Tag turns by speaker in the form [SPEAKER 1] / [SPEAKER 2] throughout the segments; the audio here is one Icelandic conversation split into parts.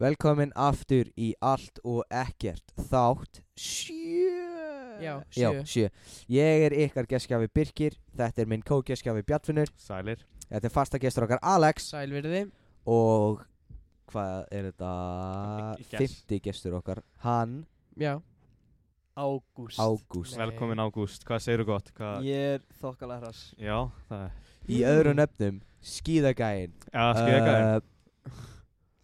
[SPEAKER 1] Velkomin aftur í allt og ekkert þátt sjö
[SPEAKER 2] Já,
[SPEAKER 1] Já,
[SPEAKER 2] sjö.
[SPEAKER 1] sjö Ég er ykkar geskjafi Birkir Þetta er minn kógeskjafi Bjartfinnur
[SPEAKER 3] Sælir
[SPEAKER 1] Þetta er fasta gestur okkar Alex
[SPEAKER 2] Sælverði
[SPEAKER 1] Og hvað er þetta?
[SPEAKER 3] Í- í gest.
[SPEAKER 1] Fymti gestur okkar Hann,
[SPEAKER 2] Já
[SPEAKER 4] Ágúst
[SPEAKER 1] Ágúst
[SPEAKER 2] Nei.
[SPEAKER 3] Velkomin Ágúst, hvað segirðu gott? Hvað...
[SPEAKER 4] Ég er þokkalega hrass
[SPEAKER 3] Já, það er
[SPEAKER 1] Í öðru nöfnum Skíðagæin
[SPEAKER 3] Já, skýðegæðin
[SPEAKER 1] uh,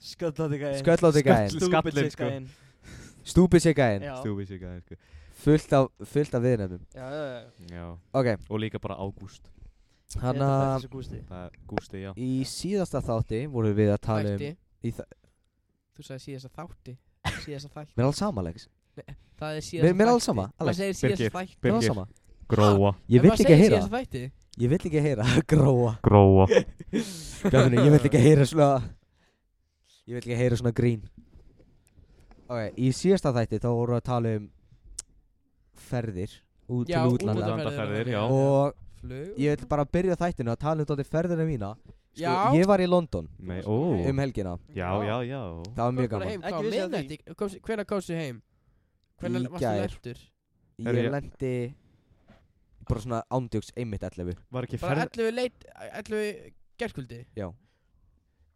[SPEAKER 4] Sköllóti gæðin
[SPEAKER 1] Skölláti gæin
[SPEAKER 3] Sköll- skallinn, sko.
[SPEAKER 1] Stúbisigæin
[SPEAKER 4] Já,
[SPEAKER 3] Stúbísi gæðin sko.
[SPEAKER 1] Fullt af, fullt af viðnefnum
[SPEAKER 4] já, já, já
[SPEAKER 3] Já,
[SPEAKER 1] Ok,
[SPEAKER 3] og líka bara Ágúst
[SPEAKER 1] hann
[SPEAKER 4] Þetta
[SPEAKER 1] að
[SPEAKER 4] fættist og gústi
[SPEAKER 3] Það er Gústi, já
[SPEAKER 1] Í síðasta þátti vorum við að tala um
[SPEAKER 2] Þætti
[SPEAKER 1] í þa-
[SPEAKER 2] Þú sagði síðasta þátti Síðasta þætti
[SPEAKER 1] Mér er alls sama, Alex
[SPEAKER 2] Það er síðasta
[SPEAKER 1] Mér, mér er alls
[SPEAKER 2] þætti.
[SPEAKER 1] sama,
[SPEAKER 2] Maður
[SPEAKER 1] Alex
[SPEAKER 2] segir síðasta
[SPEAKER 3] Birgir.
[SPEAKER 2] þætti
[SPEAKER 1] Mér er alls
[SPEAKER 3] Birgir.
[SPEAKER 1] sama
[SPEAKER 3] Gróa,
[SPEAKER 1] Ég vill
[SPEAKER 2] En maður
[SPEAKER 1] ekki
[SPEAKER 2] segir
[SPEAKER 1] heyra
[SPEAKER 2] síðasta þætti
[SPEAKER 1] Ég vill ekki heyra Gróa
[SPEAKER 3] gróa
[SPEAKER 1] Bjarni, ég vill ekki heyra svona Ég vill ekki heyra svona grín Ok, í síðasta þætti þá vorum við að tala um ferðir út
[SPEAKER 2] Já,
[SPEAKER 1] til útlanda
[SPEAKER 3] útlanda. Útlandaferðir, já.
[SPEAKER 1] og
[SPEAKER 2] Flug
[SPEAKER 1] ég vil bara byrja þættinu að tala um dóttir ferðina mína sko,
[SPEAKER 2] Já.
[SPEAKER 1] Ég var í London
[SPEAKER 3] Nei, ó
[SPEAKER 1] um helgina
[SPEAKER 3] Já, já, já
[SPEAKER 1] Það var mjög gaman
[SPEAKER 2] heim,
[SPEAKER 4] Ekki um
[SPEAKER 2] Ekki vissi
[SPEAKER 4] vissi af
[SPEAKER 2] að
[SPEAKER 4] því.
[SPEAKER 2] því Hvernig komstu heim? Hvernig
[SPEAKER 1] Í
[SPEAKER 2] varstu
[SPEAKER 1] gær.
[SPEAKER 2] lentur?
[SPEAKER 3] Heyrðu,
[SPEAKER 1] Ég
[SPEAKER 3] ég-
[SPEAKER 1] lendi bara svona ándjöks einmitt 11
[SPEAKER 3] Var ekki,
[SPEAKER 2] Bara
[SPEAKER 3] ferð,
[SPEAKER 2] 11 leit 11 gerkvöldi
[SPEAKER 1] Já,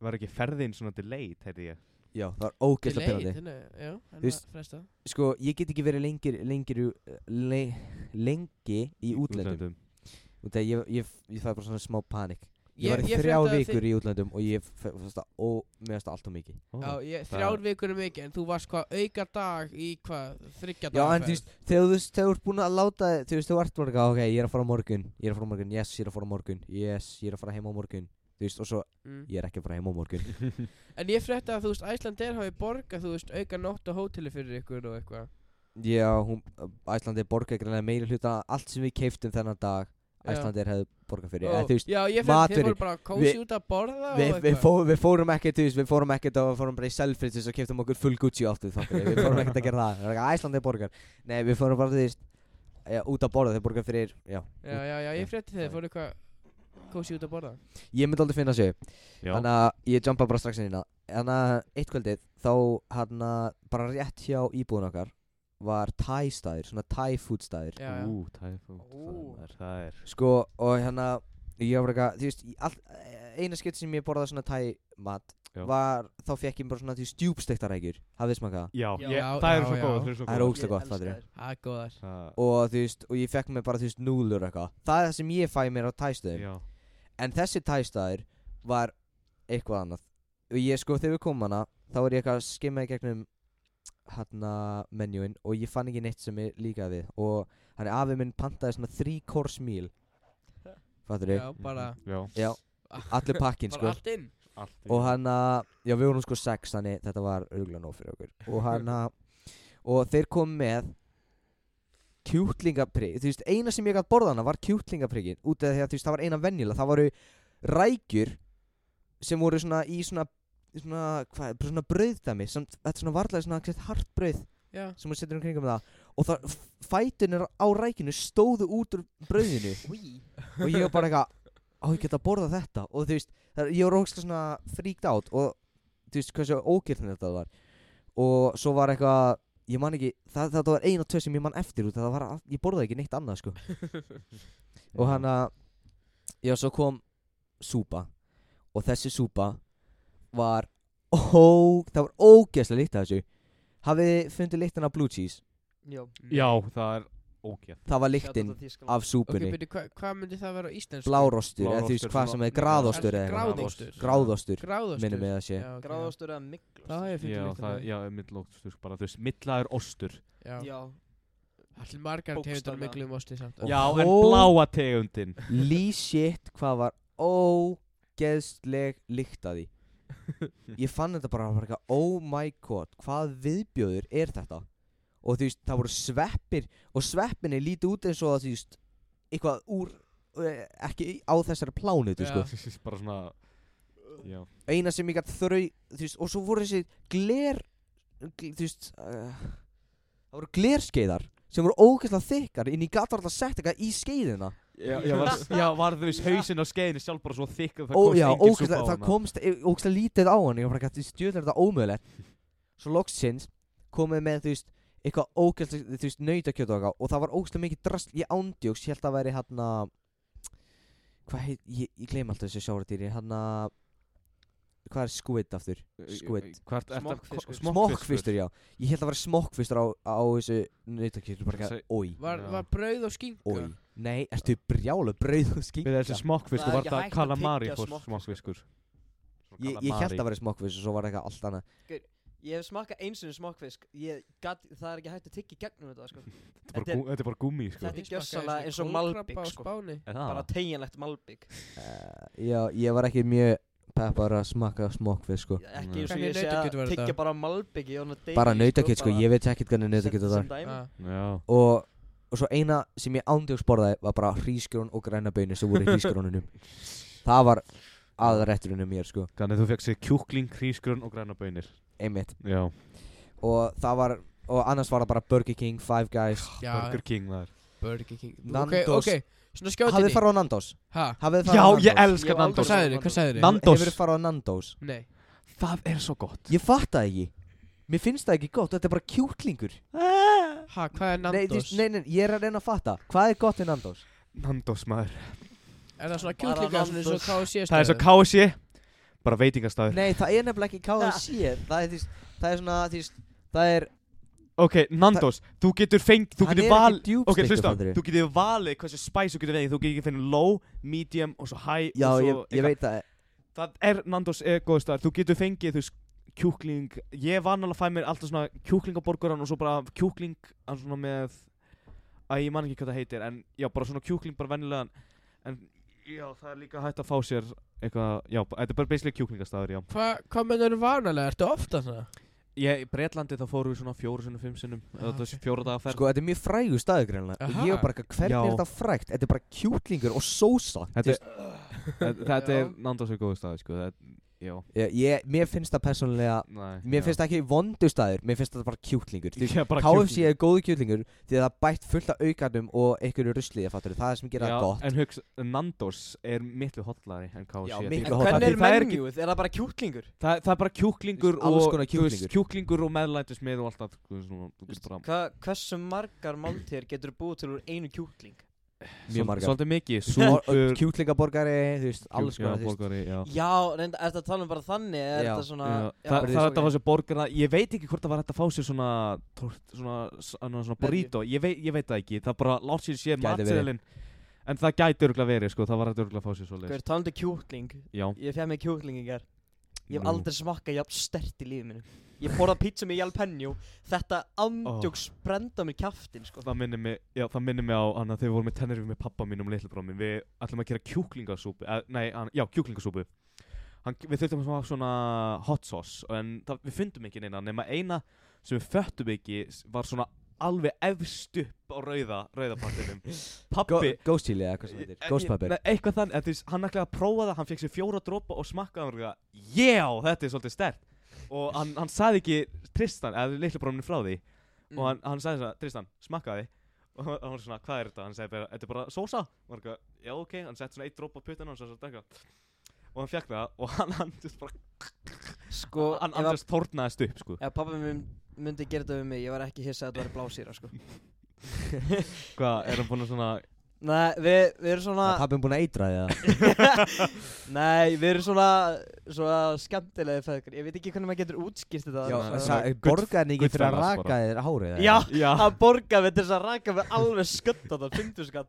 [SPEAKER 3] var ekki ferðin svona delayed, heyrði ég
[SPEAKER 1] já, það var ógeðslega pyrrandi
[SPEAKER 2] hérna, Já, hann var
[SPEAKER 1] Vist-
[SPEAKER 2] fresta
[SPEAKER 1] sko, ég get ekki verið lengir, lengir í- le, lengi í útlöndum út af ég, ég, ég fæði bara svona smá panik ég, var í þrjá
[SPEAKER 2] fréttaði
[SPEAKER 1] vikur í útlöndum og ég fannst það ó, mér fannst það allt og mikið
[SPEAKER 3] Ó,
[SPEAKER 2] Já, ég,
[SPEAKER 3] Það-
[SPEAKER 2] þrjár vikur er mikið En þú varst hvað auka dag í hvað Þryggja
[SPEAKER 1] já,
[SPEAKER 2] dag
[SPEAKER 1] en þú veist, þegar þú veist, þegar þú ert búin að láta þú veist, þú ert bara, eitthvað, ok, ég er að fara á morgun ég er að fara á morgun, yes, ég er að fara á morgun yes, ég er að fara heim á morgun þú veist, og svo, ég er ekki að fara heim á morgun
[SPEAKER 2] Mm. En ég frétta að þú veist Æslandir hafi borgað þú veist auka nótt og hóteli fyrir ykkur og eitthvað
[SPEAKER 1] já, hún, Æslandi borga ekki meira hluta allt sem við keiftum þennan dag
[SPEAKER 2] Já.
[SPEAKER 1] Æslandir hefði borgað fyrir,
[SPEAKER 2] Ó,
[SPEAKER 1] eða þú veist
[SPEAKER 2] Já, ég fyrir
[SPEAKER 1] maturinn.
[SPEAKER 2] þeir voru bara kósi
[SPEAKER 1] Við-
[SPEAKER 2] út að borða
[SPEAKER 1] Við,
[SPEAKER 2] og
[SPEAKER 1] við,
[SPEAKER 2] eitthvað.
[SPEAKER 1] fó, við fórum ekkert, þú veist, við fórum ekkert og við fórum bara í selfridges og keftum okkur full Gucci aftur þáttur, við fórum ekkert að gera það, það er ekki Æslandi borgar, nei við fórum bara, þú veist, já, út að borða, þeir borgar fyrir, já,
[SPEAKER 2] Já, já, já, ég frétti þeir
[SPEAKER 1] Sorry.
[SPEAKER 2] fóru eitthvað kósi út að borða
[SPEAKER 1] ég myndi aldrei finna sig,
[SPEAKER 3] Já,
[SPEAKER 1] þannig að ég jumpa bara strax inn í það, þannig að eitt kvöldið, þá hann að bara rétt hjá íbúðun okkar var Thai staður, svona Thai food staður,
[SPEAKER 2] Já, já
[SPEAKER 3] ú, það er fótt
[SPEAKER 2] Ó.
[SPEAKER 3] Það er
[SPEAKER 1] sko, og hérna, ég var bara eitthvað, þú veist, í allt, eina skipt sem ég borðaði svona Thai mat,
[SPEAKER 3] Já.
[SPEAKER 1] var, þá fekk ég bara svona, þú veist, stjúpstektarækjur, hafið smakað það?
[SPEAKER 3] Já,
[SPEAKER 4] Já.
[SPEAKER 3] ég,
[SPEAKER 2] Já,
[SPEAKER 3] það
[SPEAKER 2] já,
[SPEAKER 3] er svo
[SPEAKER 2] já.
[SPEAKER 3] góð Það er svo
[SPEAKER 1] Það er
[SPEAKER 3] góð
[SPEAKER 1] ógeð. ógegslega gott, fattir ég.
[SPEAKER 2] Það er góðar
[SPEAKER 3] Það
[SPEAKER 1] og þú veist, og ég fekk mér bara þú veist núlur og eitthvað, það er það sem ég fæ mér á tæstöðum
[SPEAKER 3] Já,
[SPEAKER 1] en þessi tæstöður var eitthvað annað og ég sko þegar við komum hana þá var ég eitthvað að skimma í gegnum hérna menjúin og ég fann ekki neitt sem ég líkaði við og hann er afi minn pantaði svona þrý kors míl fattur
[SPEAKER 2] Já,
[SPEAKER 1] þau,
[SPEAKER 2] bara,
[SPEAKER 3] Já,
[SPEAKER 1] já, allur pakkin
[SPEAKER 2] bara
[SPEAKER 1] sko
[SPEAKER 2] allt inn
[SPEAKER 3] allt í-
[SPEAKER 1] og hann að, já við vorum sko sex þannig þetta var örgulega nóg fyrir okkur og hann að, og þeir kom með kjútlingaprikk þú veist, eina sem ég gætt borðana var kjútlingaprikkin út af því að þú veist, það var eina venjulega það voru rækjur sem voru svona í svona svona, hvað, bara svona brauðdæmi sem, þetta er svona varlega svona hvert hart brauð
[SPEAKER 2] Já,
[SPEAKER 1] sem hún setur um kringum það og það, fætunir á rækjunu stóðu út úr brauðinu
[SPEAKER 2] hví
[SPEAKER 1] og ég var bara eitthvað á ég geta að borða þetta og þú veist það, ég var ógstlega svona fríkt átt og þú veist hversu ógirtin þetta var og svo var eitthvað ég man ekki, það, það var ein og tvö sem ég man eftir út af það var, all- ég borðaði ekki neitt annað sko og hann að já svo kom súpa og þessi súpa var ó, það var ógeðslega líkt af þessu hafið þið fundið líktin af blue cheese
[SPEAKER 4] Já
[SPEAKER 2] Mm.
[SPEAKER 3] Já, það er ógeð
[SPEAKER 1] það var líktin af
[SPEAKER 2] Ok,
[SPEAKER 1] súpunni okay,
[SPEAKER 2] byrju, hva- hvað myndi það vera á íslensku?
[SPEAKER 1] blárostur, eða þú
[SPEAKER 3] Blárostur
[SPEAKER 1] veist hvað
[SPEAKER 3] svona-
[SPEAKER 1] sem er
[SPEAKER 3] Nei,
[SPEAKER 1] graðostur
[SPEAKER 2] kannski
[SPEAKER 1] eða eitthvað.
[SPEAKER 2] gráðostur.
[SPEAKER 1] gráðostur
[SPEAKER 2] Gráðostur
[SPEAKER 1] minnum við að sé
[SPEAKER 2] Já, ok, já.
[SPEAKER 4] Gráðastur eða miklast
[SPEAKER 2] Það hefur
[SPEAKER 3] Já,
[SPEAKER 2] fyrir
[SPEAKER 3] það,
[SPEAKER 2] fyrir
[SPEAKER 3] já, millóstur, bara, þú veist, millaður ostur
[SPEAKER 2] Já,
[SPEAKER 4] Já
[SPEAKER 2] allir margar tegundur
[SPEAKER 4] Bókstaflega.
[SPEAKER 2] miklu um osti samt
[SPEAKER 1] Og
[SPEAKER 3] Já, en
[SPEAKER 1] hó-
[SPEAKER 3] bláa tegundin
[SPEAKER 1] Lee shit hvað var ógeðsleg líkt að því Ég fann þetta bara, bara eitthvað, oh my god hvað viðbjóður er þetta og þú veist það voru sveppir og sveppinni líti út eins og að þú veist eitthvað úr eh, ekki á þessari plánutu sko
[SPEAKER 3] Bara svona Já,
[SPEAKER 1] eina sem ég gætt þrau þú veist og svo voru þessi gler gl, þú veist uh, það voru glerskeiðar sem voru ógeðslega þykkar inn í gat var alltaf sett eitthvað í skeiðina
[SPEAKER 3] Já, já, var, já, var þú veist hausinn á skeiðinu sjálf bara svo þykk að það
[SPEAKER 1] Ó,
[SPEAKER 3] komst
[SPEAKER 1] já,
[SPEAKER 3] engin súpa
[SPEAKER 1] ógeðslega,
[SPEAKER 3] á
[SPEAKER 1] það
[SPEAKER 3] hana.
[SPEAKER 1] komst e, ógeðslega lítið á hann Ég var bara gæti stjöðlega þetta ómögulegt Svo loksins komið með þú veist Eitthvað ógeðslega, þú veist, nautakjöt og eitthvað Og það var ógeðslega mikið drast Ég ándjóks, ég held að það væri hann Hvað heit, ég, ég gleym alltaf þessu sjáratýri Hann Hvað er skvitt aftur? Squid.
[SPEAKER 3] Hvart, er það-
[SPEAKER 4] Smokkfiskur.
[SPEAKER 1] Smokkfistur, já Ég held að það væri smokkfistur á, á þessu nautakjötu Bara
[SPEAKER 3] Þessi-
[SPEAKER 1] eitthvað, oi,
[SPEAKER 2] Var,
[SPEAKER 3] Já.
[SPEAKER 2] var brauð og skinka
[SPEAKER 1] oi Nei, ertu brjálu, brauð og
[SPEAKER 3] Við
[SPEAKER 1] skinka
[SPEAKER 3] þessi smokkfiskur
[SPEAKER 4] Það er
[SPEAKER 3] var
[SPEAKER 4] ekki
[SPEAKER 3] það
[SPEAKER 4] hægt að
[SPEAKER 3] kalamari
[SPEAKER 4] tyggja
[SPEAKER 3] fór
[SPEAKER 4] smokkfiskur.
[SPEAKER 3] smokkfiskur
[SPEAKER 1] Ég, ég held að það væri smokkfistur Svo var það eitthvað allt annað
[SPEAKER 4] Ég hef smakað eins og smokkfisk ég gat, Það er ekki hægt að tyggja gegnum þetta sko.
[SPEAKER 3] Þetta er
[SPEAKER 4] Þetta
[SPEAKER 3] bara
[SPEAKER 4] er-
[SPEAKER 3] gú- þetta er bara gummi sko
[SPEAKER 4] Þetta er gjörsamlega eins og malbik, sko.
[SPEAKER 3] Ah.
[SPEAKER 4] Bara tegjanlegt malbygg
[SPEAKER 1] Eh, Já, ég var ekki mjög peppar að smakka smokkfisk sko
[SPEAKER 4] Ekki eins og
[SPEAKER 2] Hvernig
[SPEAKER 4] ég sé
[SPEAKER 2] nautakjöt
[SPEAKER 4] að
[SPEAKER 2] var þetta?
[SPEAKER 4] tyggja bara malbygg í honum degi,
[SPEAKER 1] Bara nautakjöt sko,
[SPEAKER 4] bara
[SPEAKER 1] ég veit ekkert hvernig nautakjöt það
[SPEAKER 4] sem-
[SPEAKER 1] var
[SPEAKER 4] sem
[SPEAKER 2] Ah.
[SPEAKER 4] dæmi.
[SPEAKER 3] Já
[SPEAKER 1] og, og svo eina sem ég ándjóks borðaði var bara hrísgrón og græna beinu sem voru í hrísgrónunum Það var aðrætturinn um mér sko,
[SPEAKER 3] Þannig að þú fegst þig kjúkling, hrísgrun og græna bönir
[SPEAKER 1] einmitt
[SPEAKER 3] Já
[SPEAKER 1] Og það var, og annars var það bara Burger King, Five Guys
[SPEAKER 2] Já,
[SPEAKER 3] Burger King maður
[SPEAKER 2] Burger King Ok,
[SPEAKER 1] Nandos.
[SPEAKER 2] ok, svona skjótinni
[SPEAKER 1] Hafið þið farið á Nandos?
[SPEAKER 2] Hæ,
[SPEAKER 1] Hafið þið
[SPEAKER 3] Já,
[SPEAKER 1] farið á Nandos?
[SPEAKER 3] ég
[SPEAKER 4] Ég
[SPEAKER 3] elska
[SPEAKER 4] hef aldrei
[SPEAKER 2] hvað
[SPEAKER 3] Nandos
[SPEAKER 4] farið-
[SPEAKER 2] sagðið þið, hvað sagðið þið?
[SPEAKER 3] Nandos.
[SPEAKER 1] Hefur þið farið á Nandos?
[SPEAKER 2] Nei,
[SPEAKER 3] Það er svo gott
[SPEAKER 1] Ég fatt það ekki Mér finnst það ekki gott, þetta er bara kjúklingur
[SPEAKER 2] hæ, hvað er
[SPEAKER 1] Nei, þú
[SPEAKER 2] Nandos?
[SPEAKER 1] veist, nei, nei, ég er að reyna að fatta Hvað er gott við Nandos?
[SPEAKER 3] Nandos maður
[SPEAKER 2] Er það svona
[SPEAKER 4] Bara
[SPEAKER 2] kjúklingar svona eins og
[SPEAKER 4] Nandos.
[SPEAKER 2] KFC
[SPEAKER 3] Það er svo KSC Bara veitingastæður
[SPEAKER 1] Nei, það er nefnilega ekki KFC Það er, því, það er svona, því, það er
[SPEAKER 3] Ok, Nandos Þú getur feng Þú
[SPEAKER 1] Hann
[SPEAKER 3] getur
[SPEAKER 1] er ekki
[SPEAKER 3] val
[SPEAKER 1] djúpsteiktur,
[SPEAKER 3] Ok, hlusta
[SPEAKER 1] fattarðu.
[SPEAKER 3] Þú getur valið hversu spice þú getur vegið Þú getur fengið low, medium og svo high
[SPEAKER 1] Já,
[SPEAKER 3] og svo
[SPEAKER 1] ég, ég
[SPEAKER 3] eitthvað.
[SPEAKER 1] veit það
[SPEAKER 3] Það er Nandos er góð staðar Þú getur fengið þú veist kjúkling Ég var náttúrulega að fæ mér alltaf svona kjúklingaborgaran og svo bara kjúkling hann svona með Æ, ég man ekki hvað það heitir en já, bara svona kjúkling bara venjulegan en já, það er líka hægt að fá sér eitthvað, já, b- þetta er bara basically kjúklingastæður, já
[SPEAKER 2] Hvað, hvað mennur eru vanalega, ertu ofta svona?
[SPEAKER 3] Ég, í Breitlandi þá fórum við svona fjóru sinnum, fimm sinnum
[SPEAKER 2] Já,
[SPEAKER 3] eða þetta
[SPEAKER 2] ok.
[SPEAKER 3] er fjóra daga ferð
[SPEAKER 1] Sko, þetta er mjög frægu staður greinlega
[SPEAKER 2] Aha.
[SPEAKER 1] Og ég var bara, eitthvað, hvernig
[SPEAKER 3] Já.
[SPEAKER 1] er þetta frægt? Þetta er bara kjúklingur og sósa
[SPEAKER 3] Þetta er, þetta- þetta
[SPEAKER 2] Já.
[SPEAKER 3] er Nandos er góð staður, sko það, Já,
[SPEAKER 1] ég, ég, Mér finnst það persónulega
[SPEAKER 3] nei
[SPEAKER 1] Mér finnst það ekki vondu staður Mér finnst það bara kjúklingur Þú-
[SPEAKER 3] Já, bara
[SPEAKER 1] KFC
[SPEAKER 3] kjúkling.
[SPEAKER 1] er góðu kjúklingur Því að það er bætt fullt af aukarnum og einhverju rusli Það er það sem gera
[SPEAKER 3] Já,
[SPEAKER 1] það gott
[SPEAKER 3] En hugsa, Nandos er miklu hotlari en KFC
[SPEAKER 1] Já,
[SPEAKER 3] Þetta er
[SPEAKER 1] miklu
[SPEAKER 3] ekki-
[SPEAKER 4] En
[SPEAKER 1] hollari.
[SPEAKER 4] hvernig er
[SPEAKER 3] Það er ekki-
[SPEAKER 4] menjúið? Er það bara kjúklingur?
[SPEAKER 3] Það, það er bara kjúklingur
[SPEAKER 1] Alls
[SPEAKER 3] og
[SPEAKER 1] konar
[SPEAKER 3] þú veist,
[SPEAKER 1] kjúklingur.
[SPEAKER 3] kjúklingur og meðlætis með og allt það sko, þú veist, svona, þú getur bara
[SPEAKER 4] Hva, hversu margar máltíðar getur búið til úr einu kjúkling?
[SPEAKER 1] Mjög margar
[SPEAKER 3] Svolítið mikið
[SPEAKER 1] Súpur,
[SPEAKER 3] Súpur
[SPEAKER 1] Kjúklingaborgari, þú veist, alls
[SPEAKER 3] kjúk-
[SPEAKER 1] konar
[SPEAKER 3] já,
[SPEAKER 1] þú veist.
[SPEAKER 3] borgari, já.
[SPEAKER 4] Já, reynda, er þetta að tala um bara þannig? Er
[SPEAKER 1] Já,
[SPEAKER 4] þetta svona...
[SPEAKER 3] Já, það,
[SPEAKER 1] já,
[SPEAKER 3] það er
[SPEAKER 1] ok.
[SPEAKER 3] hægt að fá sér borgarna Ég veit ekki hvort það var hægt að fá sér svona tort, svona, svona, svona burrito ég veit, ég veit það ekki, það bara látt sér sé
[SPEAKER 1] Gæti verið.
[SPEAKER 3] matseðlin En það gæti örgulega verið, sko, það var hægt örgulega að fá sér svo
[SPEAKER 4] Hver talandi kjúkling
[SPEAKER 3] Já,
[SPEAKER 4] Ég fæði mig kjúkling í ger Ég hef
[SPEAKER 3] Nú.
[SPEAKER 4] aldrei smakkað jafn stert í lífið minu Ég borða pizza með jalpenjó Þetta andjóks oh. brenda mér kjaftin sko.
[SPEAKER 3] það minnir mig, já, það minnir mig á hann að þegar við vorum með tennerfi með pappa mínum og litlabróð minn, við ætlum að gera kjúklingasúpu, eh, nei, hann, já, kjúklingasúpu. Hann, við þurftum að hafa svona hot sauce, en það, við fundum ekki neina, nema eina sem við föttum ekki s- var svona alveg efst upp á rauða, rauða pakkanum.
[SPEAKER 1] Go-
[SPEAKER 3] Pappi,
[SPEAKER 1] Ghost chili eða hvað sem þetta
[SPEAKER 3] Eh,
[SPEAKER 1] er Ghost
[SPEAKER 3] ég-
[SPEAKER 1] pepper
[SPEAKER 3] Nei, eitthvað þannig, en þú veist, hann ætlaði að prófa það, hann fekk sér fjóra dropa og smakkaði hann og það, já, þetta er svolítið stert. Og hann, hann sagði ekki Tristan, eða litlu bróminu frá því, og
[SPEAKER 1] Mm.
[SPEAKER 3] hann, hann sagði svona, Tristan, smakkaði. Og hann hann var svona, hvað er þetta? Hann sagði bara, þetta er bara sósa. Og hann var já, ok, hann sett svona eitt dropa á puttana og hann sagði svona, dækka. Og hann fekk það og hann, hann, just bara,
[SPEAKER 4] Sko,
[SPEAKER 3] hann,
[SPEAKER 4] ef
[SPEAKER 3] hann
[SPEAKER 4] að-
[SPEAKER 3] just tórnaðist upp, sko.
[SPEAKER 4] Ef pappa minn myndi gera þetta við mig, ég var ekki hissað að þetta væri blásýra sko.
[SPEAKER 3] Hvað, er hann búin að svona,
[SPEAKER 4] Nei, við, við erum svona
[SPEAKER 1] Það pappin búin að eitra því það
[SPEAKER 4] um- Nei, við erum svona svona skemmtilegi feðgar Ég veit ekki hvernig maður getur útskýrt þetta
[SPEAKER 1] Já,
[SPEAKER 3] Nei,
[SPEAKER 4] Svona-
[SPEAKER 3] það-
[SPEAKER 1] sa-
[SPEAKER 3] Gull-
[SPEAKER 1] borgarinn ekki fyrir að
[SPEAKER 3] gullfellars
[SPEAKER 1] raka
[SPEAKER 3] bara.
[SPEAKER 1] þér hárið eða?
[SPEAKER 4] Já,
[SPEAKER 3] já.
[SPEAKER 4] hann borgaði með þess að raka með alveg skötta það, 50 skall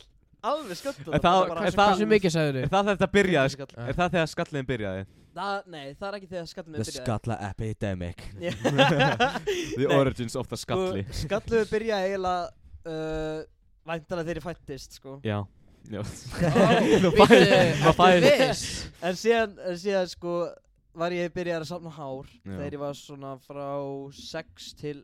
[SPEAKER 4] Alveg skötta
[SPEAKER 3] En það- en það-
[SPEAKER 2] Hversu mikið Ah. sagðið
[SPEAKER 3] Er
[SPEAKER 2] þið?
[SPEAKER 3] það þetta byrjaði, sk-
[SPEAKER 4] skall
[SPEAKER 3] er það þegar skallin byrjaði?
[SPEAKER 4] það, Nei, það er ekki þegar skallinu
[SPEAKER 1] The skalla epidemic
[SPEAKER 3] The origins of the skalli.
[SPEAKER 4] Skallinu byrjaði eiginlega uh, Væntanlega þegar ég fættist sko.
[SPEAKER 3] Já, já.
[SPEAKER 2] Ó, býttu, ertu viss?
[SPEAKER 4] En síðan, en síðan sko var ég byrjað að safna hár
[SPEAKER 3] Já.
[SPEAKER 4] þegar ég var svona frá 6 til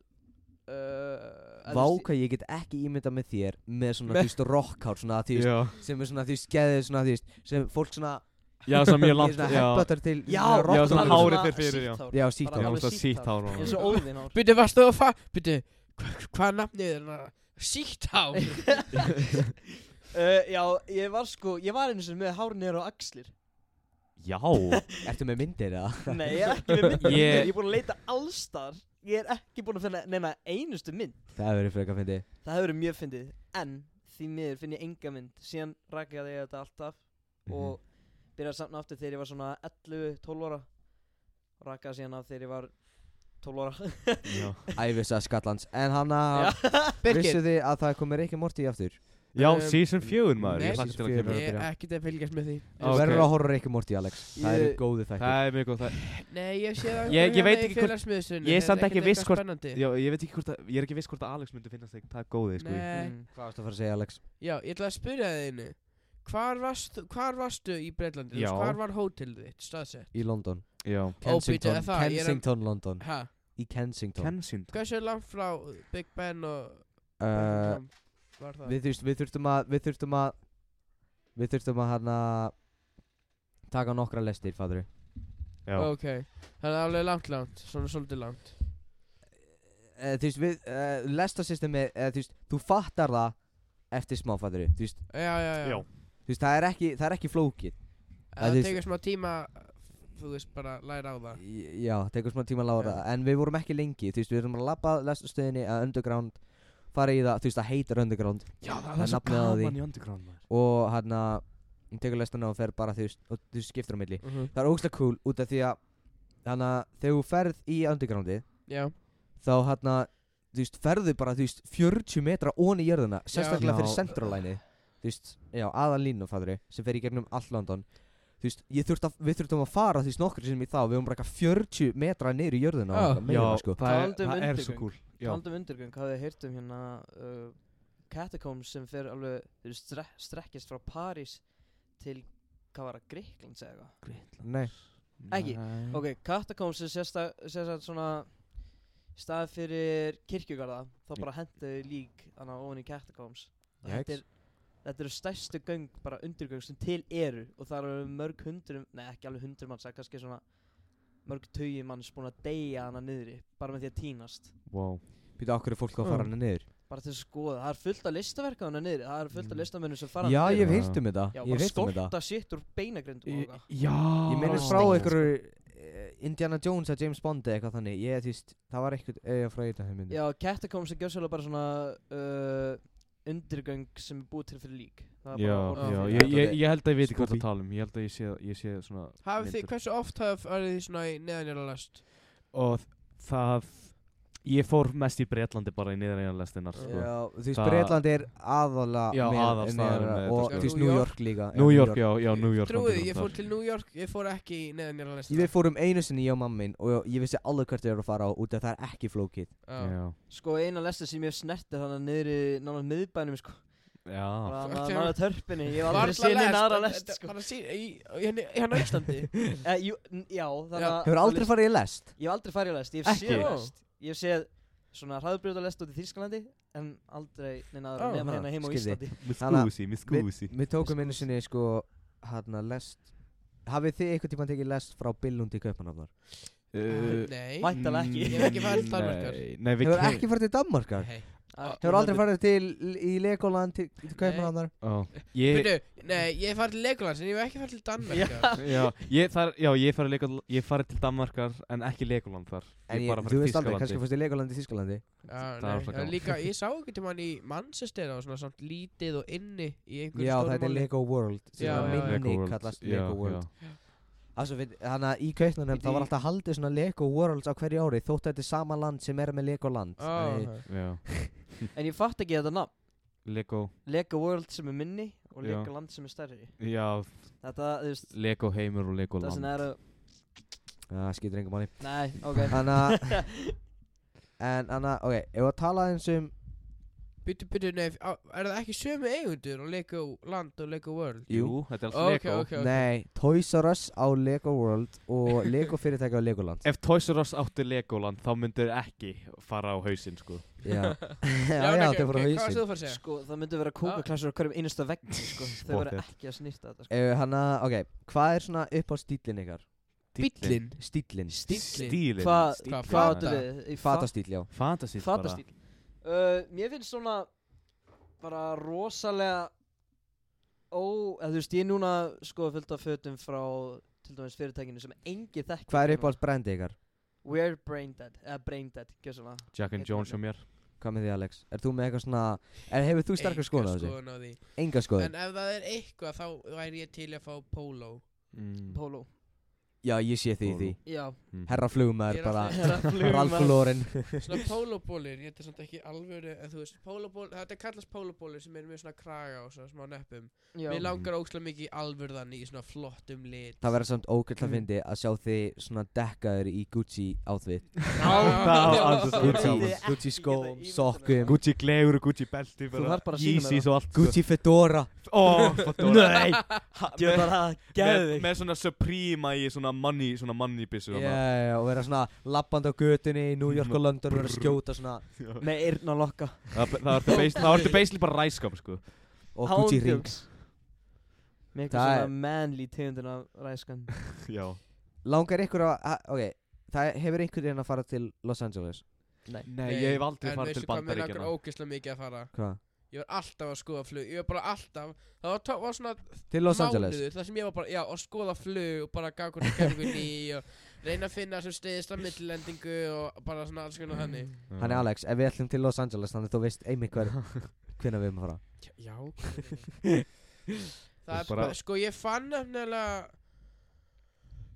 [SPEAKER 4] uh,
[SPEAKER 1] Vá hvað ég get ekki ímynda með þér Með svona
[SPEAKER 2] Me-
[SPEAKER 1] þú veist rockhár Svona þú veist
[SPEAKER 3] Já,
[SPEAKER 1] Sem er svona þú veist Geðið svona þú veist Sem fólk svona
[SPEAKER 3] já, svo mjög
[SPEAKER 1] í
[SPEAKER 3] langt
[SPEAKER 1] svona
[SPEAKER 3] Já,
[SPEAKER 1] headbuttar til
[SPEAKER 4] Já,
[SPEAKER 1] svona
[SPEAKER 3] já,
[SPEAKER 1] rockhár.
[SPEAKER 3] svona
[SPEAKER 4] alveg
[SPEAKER 3] hárið fer fyrir, já.
[SPEAKER 4] sítt hár.
[SPEAKER 1] Já, sítt
[SPEAKER 4] Bara
[SPEAKER 1] hár
[SPEAKER 3] Já,
[SPEAKER 4] alveg
[SPEAKER 3] svona sítt hár á honum.
[SPEAKER 4] Eins og óðinn hár
[SPEAKER 2] Býttu, varstu að fa... Býttu, hvaða nafnið er það? Síkt hár
[SPEAKER 4] Uh, já, ég var sko, ég var einu sem með hár niður á axlir
[SPEAKER 3] Já,
[SPEAKER 1] Ertu með myndir eða?
[SPEAKER 4] Nei, ég er ekki með myndir
[SPEAKER 3] Ég-
[SPEAKER 4] Ég er búin að leita allstar Ég er ekki búin að finna neina einustu mynd
[SPEAKER 1] Það hefur verið frekar fyndið
[SPEAKER 4] Það hefur verið mjög fyndið En því miður finn ég enga mynd Síðan rakaði ég þetta alltaf
[SPEAKER 3] Mhm.
[SPEAKER 4] og byrjaði samt aftur þegar ég var svona 11-12 ára rakaði síðan af þegar ég var 12 ára
[SPEAKER 3] Já,
[SPEAKER 1] Ævisa skallans En hann
[SPEAKER 4] Já.
[SPEAKER 1] að Vissu þið að það komir ekki morti aftur?
[SPEAKER 3] já
[SPEAKER 2] Um,
[SPEAKER 3] season 4 maður
[SPEAKER 2] nei,
[SPEAKER 3] Ég hlakka til að
[SPEAKER 1] season
[SPEAKER 3] kemur
[SPEAKER 1] fjögur.
[SPEAKER 2] Ég er ekkert að fylgjast með því
[SPEAKER 3] Á,
[SPEAKER 1] Þú
[SPEAKER 3] ok.
[SPEAKER 1] verður að horfa ekki morti Alex Það eru
[SPEAKER 4] Ég-
[SPEAKER 1] góðu þættir
[SPEAKER 3] Það er mjög góð það
[SPEAKER 2] Nei, ég sé það
[SPEAKER 3] Ég- ég veit ekki hvort-
[SPEAKER 2] hvort
[SPEAKER 3] ég er samt ekki viss hvort-
[SPEAKER 2] spennandi.
[SPEAKER 3] Já, ég veit ekki hvort að Ég er ekki viss hvort að Alex myndi finnast þegar það er góðið sko í-
[SPEAKER 2] Nei,
[SPEAKER 1] Hvað varst að fara að segja Alex?
[SPEAKER 2] já, ég ætla að spyrja þig einu Hvar varstu, hvar varstu í Breitlandi?
[SPEAKER 3] Já.
[SPEAKER 2] Hvar var hótelið þitt, staðsett?
[SPEAKER 1] Í London
[SPEAKER 3] Já
[SPEAKER 1] Kensington
[SPEAKER 2] er það- ég er að-
[SPEAKER 1] Kensington London
[SPEAKER 2] Hæ?
[SPEAKER 1] Í Kensington
[SPEAKER 3] Kensington
[SPEAKER 2] Hversu langt frá Big Ben og
[SPEAKER 1] uh,
[SPEAKER 2] Buckingham var það?
[SPEAKER 1] við, þurft, við þurftum að Við þurftum að Við þurftum að hann Taka nokkra lestir, fadru
[SPEAKER 3] Já
[SPEAKER 2] Ok, það er alveg langt langt, svona svolítið langt
[SPEAKER 1] uh, Þú veist, við uh, Lestasystemi uh, Þú veist, þú fattar það Eftir smá, fadru Þú veist,
[SPEAKER 2] Já, já, já,
[SPEAKER 3] Já.
[SPEAKER 1] þú veist það, er ekki, það er ekki flókið
[SPEAKER 2] En
[SPEAKER 1] Það
[SPEAKER 2] það
[SPEAKER 1] er-
[SPEAKER 2] tekur smá tíma, þú veist, bara að læra á það
[SPEAKER 1] Í- Já, tekur smá tíma að lára En við vorum ekki lengi, þú veist, við erum að labba lestastöðinni að underground fara í það, þú veist, það heitir underground
[SPEAKER 3] Já, það
[SPEAKER 1] Það
[SPEAKER 3] er
[SPEAKER 1] er
[SPEAKER 3] svo
[SPEAKER 1] nafnið á því.
[SPEAKER 3] gaman í Underground maður
[SPEAKER 1] og hann að hún tekur lestina og fer bara, þú veist, og þú veist, skiptir á milli
[SPEAKER 3] Mhm.
[SPEAKER 1] Það er ógslag cool út af því að hann að þegar þú ferð í undergroundi
[SPEAKER 2] Já,
[SPEAKER 1] þá hann að, þú veist, ferðu bara, þú veist, 40 metra onni í jörðina sérstaklega
[SPEAKER 3] Já.
[SPEAKER 1] fyrir centralæni þú veist, já, aðanlínu, fadri sem fer í gegnum all London þú veist, ég þurft að, við þurftum að fara, þú veist, nokkru sem í þá við höfum bara eitthvað 40 metra niður í jörðina og
[SPEAKER 2] Já.
[SPEAKER 4] Ah,
[SPEAKER 1] eitthvað meira, sko.
[SPEAKER 3] það er,
[SPEAKER 4] Talandi um
[SPEAKER 3] það er svo
[SPEAKER 4] undirgöng.
[SPEAKER 3] cool Já.
[SPEAKER 4] Taldum undirgöng, hafið þið heyrt um hérna uh, Catacombs sem fer alveg þeir stre strekkist frá París til, hvað var það, Gríkland segja eitthvað
[SPEAKER 1] Nei,
[SPEAKER 4] Ekki.
[SPEAKER 1] Mhm.
[SPEAKER 4] Ok, Catacombs er sérsta- sérstætt svona stað fyrir kirkjugarða þá bara hendu lík þannig ofan í Catacombs Og
[SPEAKER 1] Jæks.
[SPEAKER 4] þetta er, þetta eru stærstu göng, bara undirgöng sem til eru og það eru mörg hundrum, nei ekki alveg hundrum manns, það er kannski svona mörg taugi manns búin að deyja hana niðri bara með því að týnast
[SPEAKER 3] Wow
[SPEAKER 1] býta okkur er fólk að
[SPEAKER 4] Ah.
[SPEAKER 1] fara
[SPEAKER 2] Mm.
[SPEAKER 1] hana niður
[SPEAKER 4] bara til að skoða, það er fullt af listaverka hana niðri það er fullt af
[SPEAKER 3] Mm.
[SPEAKER 4] listamönnum sem fara
[SPEAKER 1] Mhm. Já, ég
[SPEAKER 4] hana niðri
[SPEAKER 1] hef heyrt um þetta, ég hef
[SPEAKER 4] Já, bara
[SPEAKER 1] heyrt um þetta
[SPEAKER 4] skolta sitt úr beinagrindum og eitthvað.
[SPEAKER 3] Já
[SPEAKER 1] Ég minnist frá
[SPEAKER 4] Steina,
[SPEAKER 1] einhverju eh, Indiana Jones að James Bond eða eitthvað þannig Ég, þú veist, það var eitthvað eiga frá þetta þeim myndi
[SPEAKER 4] Já, Catacombs er gjössalega bara svona uh, undirgöng sem er búið til fyrir lík Það er
[SPEAKER 3] Já,
[SPEAKER 4] bara orðið
[SPEAKER 3] já,
[SPEAKER 4] fyrir
[SPEAKER 3] ég,
[SPEAKER 4] það.
[SPEAKER 3] ég, ég held að ég veit hvað
[SPEAKER 1] Scooby.
[SPEAKER 3] það tala um Ég held að ég sé, ég sé svona
[SPEAKER 2] hafið þið,
[SPEAKER 3] myndir.
[SPEAKER 2] hversu oft hafið farið þið svona í neðanjála lest?
[SPEAKER 3] Og þ- það Ég fór mest í Bretlandi bara í niðræðan lestinnar
[SPEAKER 2] Já.
[SPEAKER 3] sko.
[SPEAKER 1] Já, þú veist,
[SPEAKER 3] Það-
[SPEAKER 1] Breitlandi er aðalega
[SPEAKER 3] Já, aðalstaðurinn með þetta,
[SPEAKER 1] Og
[SPEAKER 3] sko.
[SPEAKER 1] þú veist,
[SPEAKER 2] New
[SPEAKER 1] New
[SPEAKER 2] York.
[SPEAKER 1] York líka já,
[SPEAKER 3] New York, já, já, New York
[SPEAKER 2] Trúið,
[SPEAKER 3] London,
[SPEAKER 2] ég
[SPEAKER 3] þar.
[SPEAKER 2] fór til New York, ég fór ekki í neðanjála lest
[SPEAKER 1] Við fórum einu sinni ég og mamma minn Og ég vissi alveg hvert ég er að fara á Út af það er ekki flókið
[SPEAKER 3] Já,
[SPEAKER 4] Sko eina lesta sem ég hef snertið þannig að niðri náttúrulega miðbænum sko
[SPEAKER 3] já
[SPEAKER 4] Bara
[SPEAKER 2] Fuck,
[SPEAKER 4] að
[SPEAKER 2] já.
[SPEAKER 4] náttúrulega törpinni, ég hef aldrei séð neina aðra lest sko
[SPEAKER 2] Hann að sín, í, í henni, hann á Íslandi
[SPEAKER 4] Eh, jú, n- Já, þannig
[SPEAKER 2] Já.
[SPEAKER 4] að
[SPEAKER 1] Hefur
[SPEAKER 4] þá
[SPEAKER 1] aldrei
[SPEAKER 4] list-
[SPEAKER 1] farið í lest?
[SPEAKER 4] Ég hef aldrei farið á lest, ég hef
[SPEAKER 3] Ekki?
[SPEAKER 4] séð lest Ég hef séð svona hraðbrjóta lest út í Þýrskalandi En aldrei neina aðra
[SPEAKER 2] Ó,
[SPEAKER 4] nema
[SPEAKER 1] ha,
[SPEAKER 4] hérna heima á
[SPEAKER 1] skildi.
[SPEAKER 4] Íslandi
[SPEAKER 3] Miss
[SPEAKER 1] Þannig að-
[SPEAKER 3] Goosey, Miss Goosey
[SPEAKER 1] Við tókum einu sinni, sko, hérna, lest Hafið þið einhvern tímann tekið lest frá Billund í Kaupanafnar?
[SPEAKER 3] Uh,
[SPEAKER 2] Nei
[SPEAKER 4] Mæ- Væntanlega ekki.
[SPEAKER 3] mm,
[SPEAKER 2] Ég hef ekki farið til Danmerkur.
[SPEAKER 3] Nei, nei við
[SPEAKER 1] Hefur ekki farið til Danmarkar?
[SPEAKER 2] Nei.
[SPEAKER 4] Ah,
[SPEAKER 1] Hefur aldrei farið til í Legoland til, til Kaupanafnar?
[SPEAKER 3] Ó, Ég,
[SPEAKER 2] Byrju, nei, ég hef farið til Legolands en ég hef ekki farið til Danmerkar
[SPEAKER 3] já, ég, þar, já, ég farið leika, ég farið til Danmarkar en ekki Legoland þar
[SPEAKER 1] En
[SPEAKER 3] Ég
[SPEAKER 1] ég,
[SPEAKER 3] bara
[SPEAKER 1] þú
[SPEAKER 3] farið til
[SPEAKER 1] veist aldrei,
[SPEAKER 3] Þýskalandi.
[SPEAKER 1] kannski fórst í Legoland í Þískalandi
[SPEAKER 2] Já,
[SPEAKER 3] Það var
[SPEAKER 2] nei,
[SPEAKER 3] svo
[SPEAKER 2] en
[SPEAKER 3] gaman.
[SPEAKER 2] líka, ég sá ekki til mann í Manchester og svona samt lítið og inni í einhverju
[SPEAKER 1] Já,
[SPEAKER 2] stóru
[SPEAKER 1] þetta er
[SPEAKER 2] máli.
[SPEAKER 1] Lego World sem
[SPEAKER 2] Já,
[SPEAKER 1] að
[SPEAKER 2] já, já.
[SPEAKER 1] minni kallast Lego World Alltså, við, Þannig að í Kaupmannum
[SPEAKER 4] Bíddu,
[SPEAKER 1] það var
[SPEAKER 4] í-
[SPEAKER 1] alltaf haldið svona Lego Worlds á hverju ári þótt að þetta er sama land sem er með Lego land
[SPEAKER 2] Ó,
[SPEAKER 1] Þannig-
[SPEAKER 2] ok.
[SPEAKER 3] Já, já.
[SPEAKER 4] En ég fatt ekki þetta nafn
[SPEAKER 3] Lego
[SPEAKER 4] Lego World sem er minni og
[SPEAKER 3] Já.
[SPEAKER 4] Lego Land sem er stærri
[SPEAKER 3] Já,
[SPEAKER 4] Þetta, þú veist,
[SPEAKER 3] Lego heimur og Lego
[SPEAKER 4] það sem
[SPEAKER 3] land
[SPEAKER 4] er
[SPEAKER 1] Það skýtur engum manni
[SPEAKER 4] Nei, ok
[SPEAKER 1] Þannig að En þannig að, ok, ef að tala eins um
[SPEAKER 2] Byttu, byttu, nei, á- er það ekki sömu eigundur á Lego Land og Lego World?
[SPEAKER 1] Jú,
[SPEAKER 3] þetta er allt
[SPEAKER 2] Ok,
[SPEAKER 3] Lego
[SPEAKER 2] ok, ok
[SPEAKER 1] nei, Toys R Us á Lego World og Lego fyrirtæki á Legoland
[SPEAKER 3] Ef Toys R Us átti Legoland þá myndir ekki fara á hausinn sko
[SPEAKER 1] Já, já,
[SPEAKER 2] nei,
[SPEAKER 1] já,
[SPEAKER 2] ok,
[SPEAKER 1] þetta voru
[SPEAKER 2] ok, Hvað varst
[SPEAKER 1] hausinn
[SPEAKER 2] þú að fara að segja?
[SPEAKER 4] Sko, það myndi vera kókaklassur á hverjum einasta vegg sko. Þau verða
[SPEAKER 3] Spotted.
[SPEAKER 4] ekki að snýrta þetta sko.
[SPEAKER 1] Þannig að, ok, hvað er svona upp á stílinn ykkar?
[SPEAKER 2] Bíllinn
[SPEAKER 1] Stílinn
[SPEAKER 2] Stílinn
[SPEAKER 3] Stílinn
[SPEAKER 4] Hva-
[SPEAKER 3] Stíllinn.
[SPEAKER 4] Hvað
[SPEAKER 2] Fata.
[SPEAKER 4] áttu við? Í fa-
[SPEAKER 1] Fatastíl, já
[SPEAKER 3] Fantasy bara.
[SPEAKER 4] Fatastíl uh, Mér finnst svona bara rosalega ó, eða þú veist, ég er núna sko fullt af fötum frá til dæmis fyrirtækinu sem engi þekki
[SPEAKER 1] Hvað er uppáhalds brandið ykkar?
[SPEAKER 4] We're Braindead, eða Braindead, gjössalega
[SPEAKER 3] Jack and
[SPEAKER 4] Einn
[SPEAKER 3] Jones
[SPEAKER 4] af
[SPEAKER 3] hjá mér
[SPEAKER 1] Hvað með því Alex? Er þú með eitthvað svona Er hefur þú sterkar skoðun á þessu?
[SPEAKER 2] skoðun á því
[SPEAKER 1] Enga skoðun
[SPEAKER 2] En ef það er eitthvað þá væri ég til að fá póló
[SPEAKER 3] mm.
[SPEAKER 4] Polo
[SPEAKER 1] Já ég sé því í því
[SPEAKER 4] Já,
[SPEAKER 1] Herra flugmaður
[SPEAKER 2] Ég er
[SPEAKER 1] bara
[SPEAKER 2] að-
[SPEAKER 1] Ralf Lauren
[SPEAKER 2] Svona pólóbólir, ég þetta er samt ekki alvöru En þú veist, pólóból, þetta kallast pólóbólir sem er með svona kraga og svona smá neppum
[SPEAKER 4] já
[SPEAKER 2] Mér langar ókslega mikið í alvörðan í svona flottum lit
[SPEAKER 1] Það verður samt ógætt að fyndi að sjá þig svona dekkaður í Gucci outfit Gucci,
[SPEAKER 4] Ég
[SPEAKER 1] Gucci
[SPEAKER 4] ekki
[SPEAKER 1] skóm,
[SPEAKER 4] getað ímyndað mér
[SPEAKER 1] sokkum
[SPEAKER 4] það.
[SPEAKER 3] Gucci glegur og Gucci belti
[SPEAKER 4] Þú þarf bara að sýna mér
[SPEAKER 3] Yeezys og allt sko.
[SPEAKER 1] Gucci fedora
[SPEAKER 3] Ó, fedora.
[SPEAKER 1] Nei.
[SPEAKER 3] Ha,
[SPEAKER 4] Ég
[SPEAKER 3] með-
[SPEAKER 4] var að
[SPEAKER 3] með,
[SPEAKER 4] geðu þig
[SPEAKER 3] með svona Suprema í svona money Svona money byssu
[SPEAKER 1] Já,
[SPEAKER 3] þarna.
[SPEAKER 1] já, já, og vera svona lappandi á götunni í New York og London og vera að skjóta svona
[SPEAKER 3] Já.
[SPEAKER 4] Með eirna lokka
[SPEAKER 3] Það það ertu bas- það ertu basically bara ræskap sko
[SPEAKER 1] og Gucci ring
[SPEAKER 4] Með eitthvað
[SPEAKER 1] Það er-
[SPEAKER 4] svona manly tegundin af ræskan
[SPEAKER 3] Já
[SPEAKER 1] Langar ykkur að, að- ok, það hefur einhvern veginn að fara til Los Angeles
[SPEAKER 3] Nei, ég hef aldrei farið til
[SPEAKER 2] En veistu hvað mér
[SPEAKER 3] bandaríkjana
[SPEAKER 2] langar ókslega mikið að fara
[SPEAKER 1] Hvað?
[SPEAKER 2] Ég var alltaf að skoða flug, ég var bara alltaf Það var, tó- var svona
[SPEAKER 1] Til Los Angeles
[SPEAKER 2] mánuður þar sem ég var bara, já, að skoða flug og bara gaf hvernig gerðingunni og reyna að finna sem steyðist að millendingu og bara svona alls konar þannig
[SPEAKER 3] Já.
[SPEAKER 1] Þannig Alex, ef við ætlum til Los Angeles þannig að þú veist einmitt hver, hvenær við erum að fara
[SPEAKER 2] Já hvernig? Það er
[SPEAKER 3] Bara-
[SPEAKER 2] bara, sko ég fann nefnilega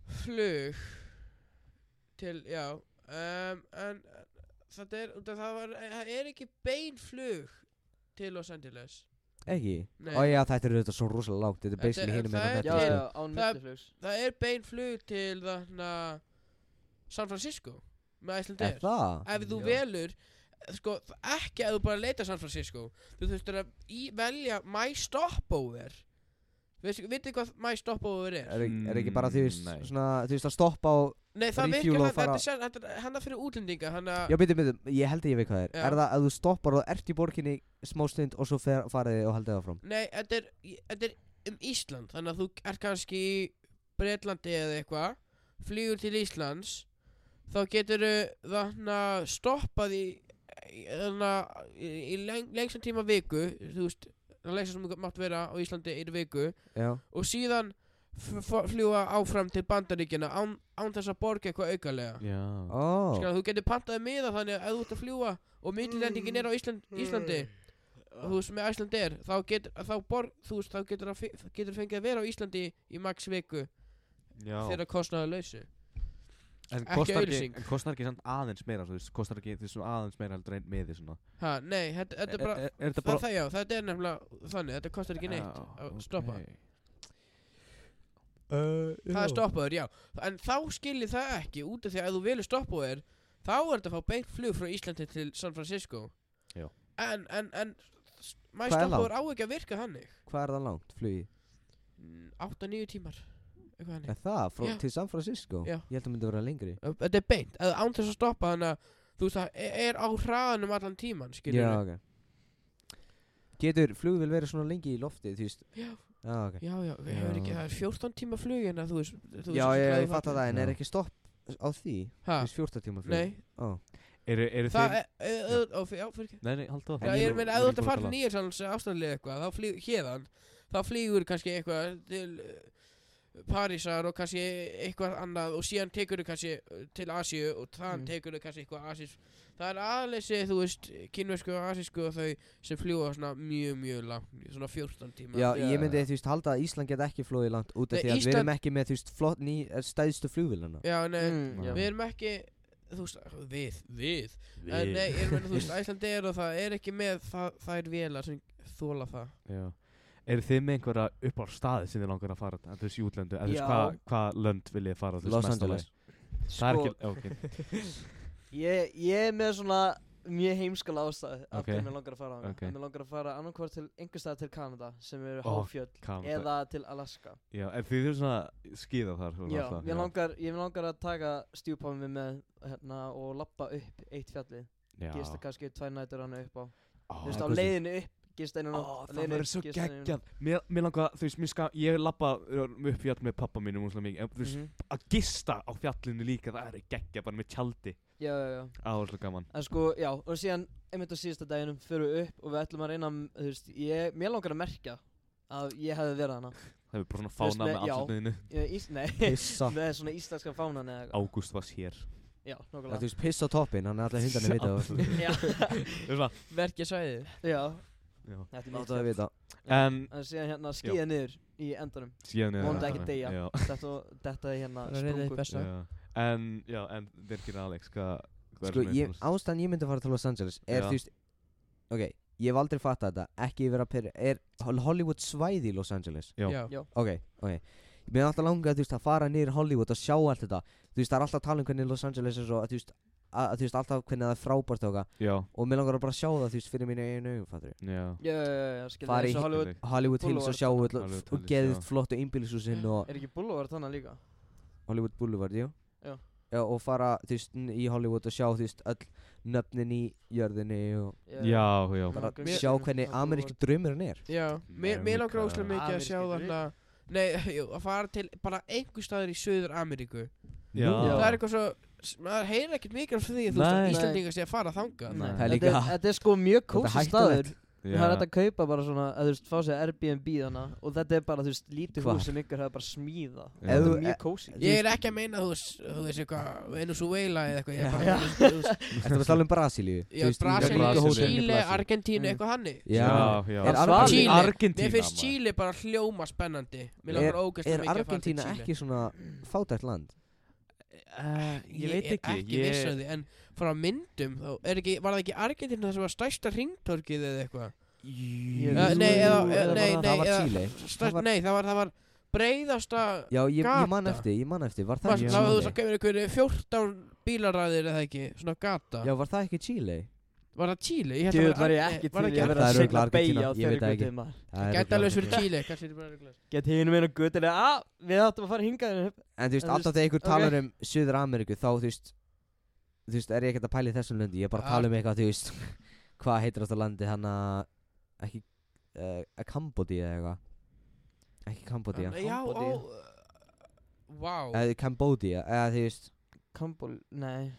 [SPEAKER 2] flug til, já um, en þetta er, út af það var það er ekki bein flug til Los Angeles
[SPEAKER 1] Ekki?
[SPEAKER 2] Nei,
[SPEAKER 1] Ó já, þetta eru þetta svo rosalega lágt, þetta er
[SPEAKER 2] Þetta-
[SPEAKER 1] basically hinum
[SPEAKER 2] það
[SPEAKER 1] meðan
[SPEAKER 2] er-
[SPEAKER 4] Já,
[SPEAKER 1] þetta
[SPEAKER 4] já,
[SPEAKER 1] sko.
[SPEAKER 4] án
[SPEAKER 2] Það-
[SPEAKER 4] milliflugs
[SPEAKER 2] það er bein flug til þarna San Francisco með Icelandair
[SPEAKER 1] Er það?
[SPEAKER 2] ef þú
[SPEAKER 4] Já.
[SPEAKER 2] velur sko, ekki ef þú bara leita San Francisco þú þurftur að í, velja my stopover Veistu- vitið hvað my stopover er?
[SPEAKER 1] Er, er ekki bara því
[SPEAKER 3] Mm, nei.
[SPEAKER 1] svona, þú veist að stoppa á
[SPEAKER 2] nei það
[SPEAKER 1] bara í
[SPEAKER 2] virkar
[SPEAKER 1] fjúla
[SPEAKER 2] það,
[SPEAKER 1] og fara-
[SPEAKER 2] þetta, sér- þetta er hennar fyrir útlendinga þannig að
[SPEAKER 3] Ah.
[SPEAKER 1] Já, byrju, byrju, ég held að ég veit hvað það er
[SPEAKER 2] Já.
[SPEAKER 1] Er það að þú stoppar og ert í borginni smástund og svo fer, farið þið og haldið áfram
[SPEAKER 2] nei, þetta er, þetta er um Ísland þannig að þú er kannski í Breitlandi eða eitthvað flýgur til Íslands þá getur þarna stoppað í, í, þarna- í, í leng, lengstan tíma viku þú veist, það lengstan sem þú mátt vera á Íslandi í viku
[SPEAKER 1] Já
[SPEAKER 2] og síðan f- f- fljúa áfram til bandaríkina án, án þess að borga eitthvað aukalega
[SPEAKER 3] Já
[SPEAKER 1] Ó
[SPEAKER 2] Skal, þú getur pantaði miða þannig að ef þú ert að fljúa og myndilendingin er á Ísland, Íslandi og þú veist með Ísland er þá getur þá borg, þú veist þá getur, að, fe- getur fengið að vera á Íslandi í max viku
[SPEAKER 3] Já
[SPEAKER 2] þegar kostnaðu lausu
[SPEAKER 3] En
[SPEAKER 2] ekki
[SPEAKER 3] kostar ekki,
[SPEAKER 2] auglýsing.
[SPEAKER 3] en kostar ekki samt aðeins meira þú veist, Kostar ekki þessum aðeins meira heldur einn miði svona
[SPEAKER 2] ha, nei, þetta, þetta er bara
[SPEAKER 1] Eh,
[SPEAKER 3] Er- Er E, þetta
[SPEAKER 2] það,
[SPEAKER 3] bara
[SPEAKER 2] það, já, þetta er nefnilega þannig þetta kostar ekki neitt
[SPEAKER 3] Já,
[SPEAKER 2] að stoppa.
[SPEAKER 3] ok.
[SPEAKER 2] það er stoppaður, já en þá skilir það ekki út af því að ef þú velur stoppaður þá er þetta að fá beint flug frá Íslandi til San Francisco
[SPEAKER 3] Já.
[SPEAKER 2] en, en, en s- maður
[SPEAKER 1] Hvað er
[SPEAKER 2] stoppaður á ekki að virka hannig
[SPEAKER 1] Hvað er það langt, flugi?
[SPEAKER 2] 8-9 tímar eitthvað hannig
[SPEAKER 1] Er það? Frá,
[SPEAKER 2] Já.
[SPEAKER 1] til San Francisco?
[SPEAKER 2] Já.
[SPEAKER 1] Ég held að myndi vera lengri
[SPEAKER 2] þetta er beint, eða án þess að stoppa þannig að þú veist það e, er- er á hraðanum allan tíman skilur
[SPEAKER 1] Já, ok Getur flugvél verið svona lengi í lofti, þú veist
[SPEAKER 2] Já.
[SPEAKER 1] Já, ok
[SPEAKER 2] já, já, já. Ekki,
[SPEAKER 3] Já.
[SPEAKER 2] það er 14 tíma flug en þú veist þú
[SPEAKER 1] Já,
[SPEAKER 2] veist,
[SPEAKER 1] ég,
[SPEAKER 2] þú
[SPEAKER 1] ég fatt að það, en
[SPEAKER 3] Já.
[SPEAKER 1] er ekki stopp á því?
[SPEAKER 2] ha,
[SPEAKER 1] Þú veist 14 tíma flug
[SPEAKER 2] Ah. nei,
[SPEAKER 1] Ó,
[SPEAKER 3] Eru eru
[SPEAKER 2] það
[SPEAKER 3] þeir
[SPEAKER 2] er, e, e, ó, fyr- já, fyrir ekki
[SPEAKER 3] Nei, nei, haldu
[SPEAKER 2] Já, ég meina, ef þú ert að fara til nýjarsans ástæðlega eitthvað, þá flýgur hérðan, þá flýgur kannski eitthvað til uh, Parísar og kannski eitthvað annað og síðan tekur þau kannski uh, til Asíu og þann
[SPEAKER 4] Mm.
[SPEAKER 2] tekur þau kannski eitthvað Asís. Það er aðleysi, þú veist, kynversku og asísku og þau sem fljúa svona mjög, mjög langt, svona 14 tíma.
[SPEAKER 1] Já,
[SPEAKER 3] Já.
[SPEAKER 1] ég myndi, þú veist, halda að Ísland get ekki flogið langt út af
[SPEAKER 2] Nei,
[SPEAKER 1] því að við
[SPEAKER 2] Ísland-
[SPEAKER 1] erum ekki með, þú veist, flott ný, eh, stæðstu flugvélana
[SPEAKER 2] Já, nei,
[SPEAKER 4] Mm,
[SPEAKER 3] Já.
[SPEAKER 4] já.
[SPEAKER 2] við erum ekki, þú veist, við, við, En, nei, ég meina, þú veist, Æslandi er og það er ekki með það, það er vélar sem þóla það.
[SPEAKER 3] Já Eru þið með einhverja uppáhald staði sem þið langar að fara að þessu útlöndu eða þú veist
[SPEAKER 4] Já.
[SPEAKER 3] hvað hva lönd viljið fara þú veist,
[SPEAKER 1] Los
[SPEAKER 3] mest á
[SPEAKER 1] Angeles
[SPEAKER 3] lagi? Það er
[SPEAKER 4] Sko-
[SPEAKER 3] ekki, ok,
[SPEAKER 4] Ég, ég er með svona mjög heimskala ástæð af
[SPEAKER 3] Ok.
[SPEAKER 4] hverju mér langar að fara á
[SPEAKER 3] Ok.
[SPEAKER 4] okay. Mér langar að fara annarkvort til einhver stað til Kanada sem eru
[SPEAKER 3] Ó,
[SPEAKER 4] háfjöll
[SPEAKER 3] kam
[SPEAKER 4] eða til Alaska
[SPEAKER 3] Já, en þið þurfum svona skýða þar og
[SPEAKER 4] Já,
[SPEAKER 3] allt það,
[SPEAKER 4] mér langar, ég mér langar að taka stjúpámi með hérna og lappa upp eitt fjallið
[SPEAKER 3] Já,
[SPEAKER 4] Gista kannski tvær nætur hann upp á
[SPEAKER 3] Ó,
[SPEAKER 4] Þú veist á
[SPEAKER 1] guð.
[SPEAKER 4] leiðinu upp, gista einu
[SPEAKER 3] Ó,
[SPEAKER 4] nótt á
[SPEAKER 3] það
[SPEAKER 4] leiðinu
[SPEAKER 3] verður
[SPEAKER 4] upp,
[SPEAKER 3] svo
[SPEAKER 4] gista eina nótt.
[SPEAKER 3] geggjað Mér, mér langar, þú veist, mér ska, ég lappa upp fjall með pappa mínum og svona mikið en þú veist,
[SPEAKER 4] Mhm.
[SPEAKER 3] að gista á fjallinu líka, það er geggjað bara með tjaldi
[SPEAKER 4] Já, já, já
[SPEAKER 3] Á, það er svo gaman
[SPEAKER 4] En sko, já, og síðan einmitt á síðasta daginum fyrir við upp og við ætlum að reyna, að- þú veist, ég, mér langar að merkja að ég hefði verið hana
[SPEAKER 3] Það er bara svona
[SPEAKER 4] veist,
[SPEAKER 3] fána
[SPEAKER 4] með-
[SPEAKER 3] með
[SPEAKER 4] já.
[SPEAKER 3] andlutniðinu
[SPEAKER 4] Ég- Ís, Nei,
[SPEAKER 1] Pissa
[SPEAKER 4] með svona íslenska fánan eða eitthvað
[SPEAKER 3] Ágúst var sér
[SPEAKER 4] Já,
[SPEAKER 1] Það er
[SPEAKER 4] nokkulega
[SPEAKER 1] þú veist piss á toppin Þannig að allir hundarnir vita það
[SPEAKER 4] Já,
[SPEAKER 3] Það er svona
[SPEAKER 2] Verkja svæðið
[SPEAKER 4] já,
[SPEAKER 3] Já
[SPEAKER 4] þetta er mjög
[SPEAKER 1] Láta það vita
[SPEAKER 3] En
[SPEAKER 4] En síðan hérna skýða niður í endanum
[SPEAKER 3] síðan
[SPEAKER 4] Vonandi
[SPEAKER 3] Já.
[SPEAKER 4] ekki deyja.
[SPEAKER 3] Já
[SPEAKER 4] Þetta, þetta er hérna
[SPEAKER 2] Það er reyðið
[SPEAKER 4] sprungu
[SPEAKER 2] besta
[SPEAKER 3] Já. En, já, en virkir Alex, hvað hva
[SPEAKER 1] Sko, ég, ástæðan ég myndi að fara til Los Angeles er
[SPEAKER 3] Já.
[SPEAKER 1] þú veist Ok, ég hef aldrei fattað þetta Ekki vera pyrr Er Hol- Hollywood svæði í Los Angeles?
[SPEAKER 3] Já.
[SPEAKER 4] Já,
[SPEAKER 1] Ok, ok Ég myndi alltaf langa þú veist að fara niður í Hollywood og sjá allt þetta Þú veist, það er alltaf að tala um hvernig Los Angeles er svo að, Þú veist, að, að, þú veist alltaf hvernig það er frábært og eitthvað
[SPEAKER 3] Já,
[SPEAKER 1] Og mér langar að bara sjá það þú veist fyrir mínu einu augum, fattur
[SPEAKER 3] já
[SPEAKER 4] já, já, já, já, skilja
[SPEAKER 1] Fari í
[SPEAKER 4] eins og Hollywood
[SPEAKER 1] Hollywood Hills og
[SPEAKER 4] Boulevard.
[SPEAKER 1] sjá öll-
[SPEAKER 3] Hollywood
[SPEAKER 1] og
[SPEAKER 3] Hills,
[SPEAKER 1] geðið
[SPEAKER 3] já.
[SPEAKER 1] flott og einbýlishúsin og
[SPEAKER 4] Er ekki Boulevard þannig líka?
[SPEAKER 1] Hollywood Boulevard, jú
[SPEAKER 4] Já.
[SPEAKER 1] Já, og fara, þú veist, n- í Hollywood og sjá, þú veist, öll nöfnin í jörðinni og
[SPEAKER 3] Já, já
[SPEAKER 1] bara
[SPEAKER 4] Langar í
[SPEAKER 1] sjá
[SPEAKER 4] sérnum
[SPEAKER 1] hvernig
[SPEAKER 4] á
[SPEAKER 1] ameríski
[SPEAKER 4] Boulevard.
[SPEAKER 1] draumurinn er
[SPEAKER 2] Já, mér, mér langar
[SPEAKER 3] Amerika.
[SPEAKER 2] óslega mikið að sjá
[SPEAKER 4] Ameríski
[SPEAKER 2] þarna Nei, jú, að fara til bara einhver staður í Suður Ameríku
[SPEAKER 3] Já.
[SPEAKER 1] Nú,
[SPEAKER 2] Það er eitthvað svo, s- maður heyrir ekkert mikið af því þú veist
[SPEAKER 3] Nei.
[SPEAKER 2] að Íslandingar sé að fara þangað
[SPEAKER 4] Nei,
[SPEAKER 1] Það er
[SPEAKER 4] þetta,
[SPEAKER 1] líka-
[SPEAKER 4] er, þetta er sko mjög
[SPEAKER 1] Þetta er
[SPEAKER 4] kósi staður
[SPEAKER 1] hættulegt.
[SPEAKER 4] Það er hægt að kaupa bara svona, að þú veist, fá sér Airbnb þannig Og þetta er bara, þú veist, lítið
[SPEAKER 1] Hvar?
[SPEAKER 4] hús sem ykkur hefur bara smíða
[SPEAKER 3] Já.
[SPEAKER 4] Þetta
[SPEAKER 1] Ef-
[SPEAKER 4] er mjög kósi
[SPEAKER 1] Þú
[SPEAKER 2] Ég
[SPEAKER 1] veist-
[SPEAKER 2] er ekki að meina þú veist, þú veist eitthvað Venezuela eða eitthvað Ég er
[SPEAKER 4] Já.
[SPEAKER 2] bara, þú veist, þú veist
[SPEAKER 1] Ertu að tala um Brasilíu? Þú
[SPEAKER 2] Já,
[SPEAKER 1] veist,
[SPEAKER 2] Brasilíu,
[SPEAKER 1] líka
[SPEAKER 3] Brasilíu.
[SPEAKER 1] hótelin í
[SPEAKER 2] Chile,
[SPEAKER 1] Brasilíu.
[SPEAKER 2] Argentínu,
[SPEAKER 4] Mm.
[SPEAKER 2] eitthvað hannig
[SPEAKER 1] Já,
[SPEAKER 3] já
[SPEAKER 1] Er
[SPEAKER 4] Svar-
[SPEAKER 1] Argentína-
[SPEAKER 2] Chile.
[SPEAKER 3] Argentína
[SPEAKER 2] Mér finnst
[SPEAKER 3] maður. Eh,
[SPEAKER 2] Chile bara hljóma spennandi Mér langar ógæslega
[SPEAKER 1] Er
[SPEAKER 2] mikið að fara til
[SPEAKER 1] Argentína
[SPEAKER 2] Chile
[SPEAKER 1] ekki svona fátært land?
[SPEAKER 3] Eh, Ég veit
[SPEAKER 2] er
[SPEAKER 3] ekki
[SPEAKER 2] ekki viss um- að því En frá myndum þá er ekki, Var það ekki Argentína það sem var stærsta ringtorkið eða eitthvað
[SPEAKER 4] Ég-
[SPEAKER 2] Eh, Nei, eða, eða, nei,
[SPEAKER 1] var-
[SPEAKER 2] nei,
[SPEAKER 1] það var
[SPEAKER 2] eða-
[SPEAKER 1] Chile
[SPEAKER 2] stærst,
[SPEAKER 1] var-
[SPEAKER 2] Nei, það var, það var breyðasta
[SPEAKER 1] Já, ég, ég man
[SPEAKER 2] Gata.
[SPEAKER 1] eftir, ég man eftir Var það
[SPEAKER 2] Það
[SPEAKER 1] ekki
[SPEAKER 3] Já.
[SPEAKER 2] var þú
[SPEAKER 1] Chile?
[SPEAKER 2] svo kemur einhverju 14 bílaræðir eða ekki Svona gata
[SPEAKER 1] Já, var það ekki Chile?
[SPEAKER 2] Var það Chile? Ég hélt
[SPEAKER 4] Djöfull
[SPEAKER 2] það
[SPEAKER 4] var
[SPEAKER 2] væri-
[SPEAKER 4] ég
[SPEAKER 2] nei, var
[SPEAKER 4] ekki til
[SPEAKER 2] það
[SPEAKER 4] í að
[SPEAKER 1] Argentína?
[SPEAKER 2] ekki-
[SPEAKER 4] vera
[SPEAKER 1] Það
[SPEAKER 4] að
[SPEAKER 1] er
[SPEAKER 4] sigla
[SPEAKER 1] örugglega
[SPEAKER 4] beigja á
[SPEAKER 1] Argentína, ég veit það
[SPEAKER 4] þörgu
[SPEAKER 1] ekki.
[SPEAKER 4] tíma
[SPEAKER 1] Það er
[SPEAKER 2] Gæti alveg
[SPEAKER 1] örugglega-
[SPEAKER 2] verið Chile Kanski er ég bara að ruggla
[SPEAKER 4] Get hinu minn og gutinu að Ah, við áttum að fara hingað hérna upp.
[SPEAKER 1] En þú veist,
[SPEAKER 4] En þú
[SPEAKER 1] alltaf þegar ykkur
[SPEAKER 4] ok.
[SPEAKER 1] talar um Suður Ameríku þá, þú veist Þú veist, er ég ekkert að pæla í þessum löndi Ég er bara að tala um eitthvað, þú veist Hvað heitir þetta landi, hann að Ekki, uh, Kambodí eða eitthvað Ekki Kambodí,
[SPEAKER 2] Þannig- Já, ó
[SPEAKER 4] Kambódíu.
[SPEAKER 2] Vá
[SPEAKER 1] eða Kambodí Eh, Eða þú veist,
[SPEAKER 4] Kambol, nei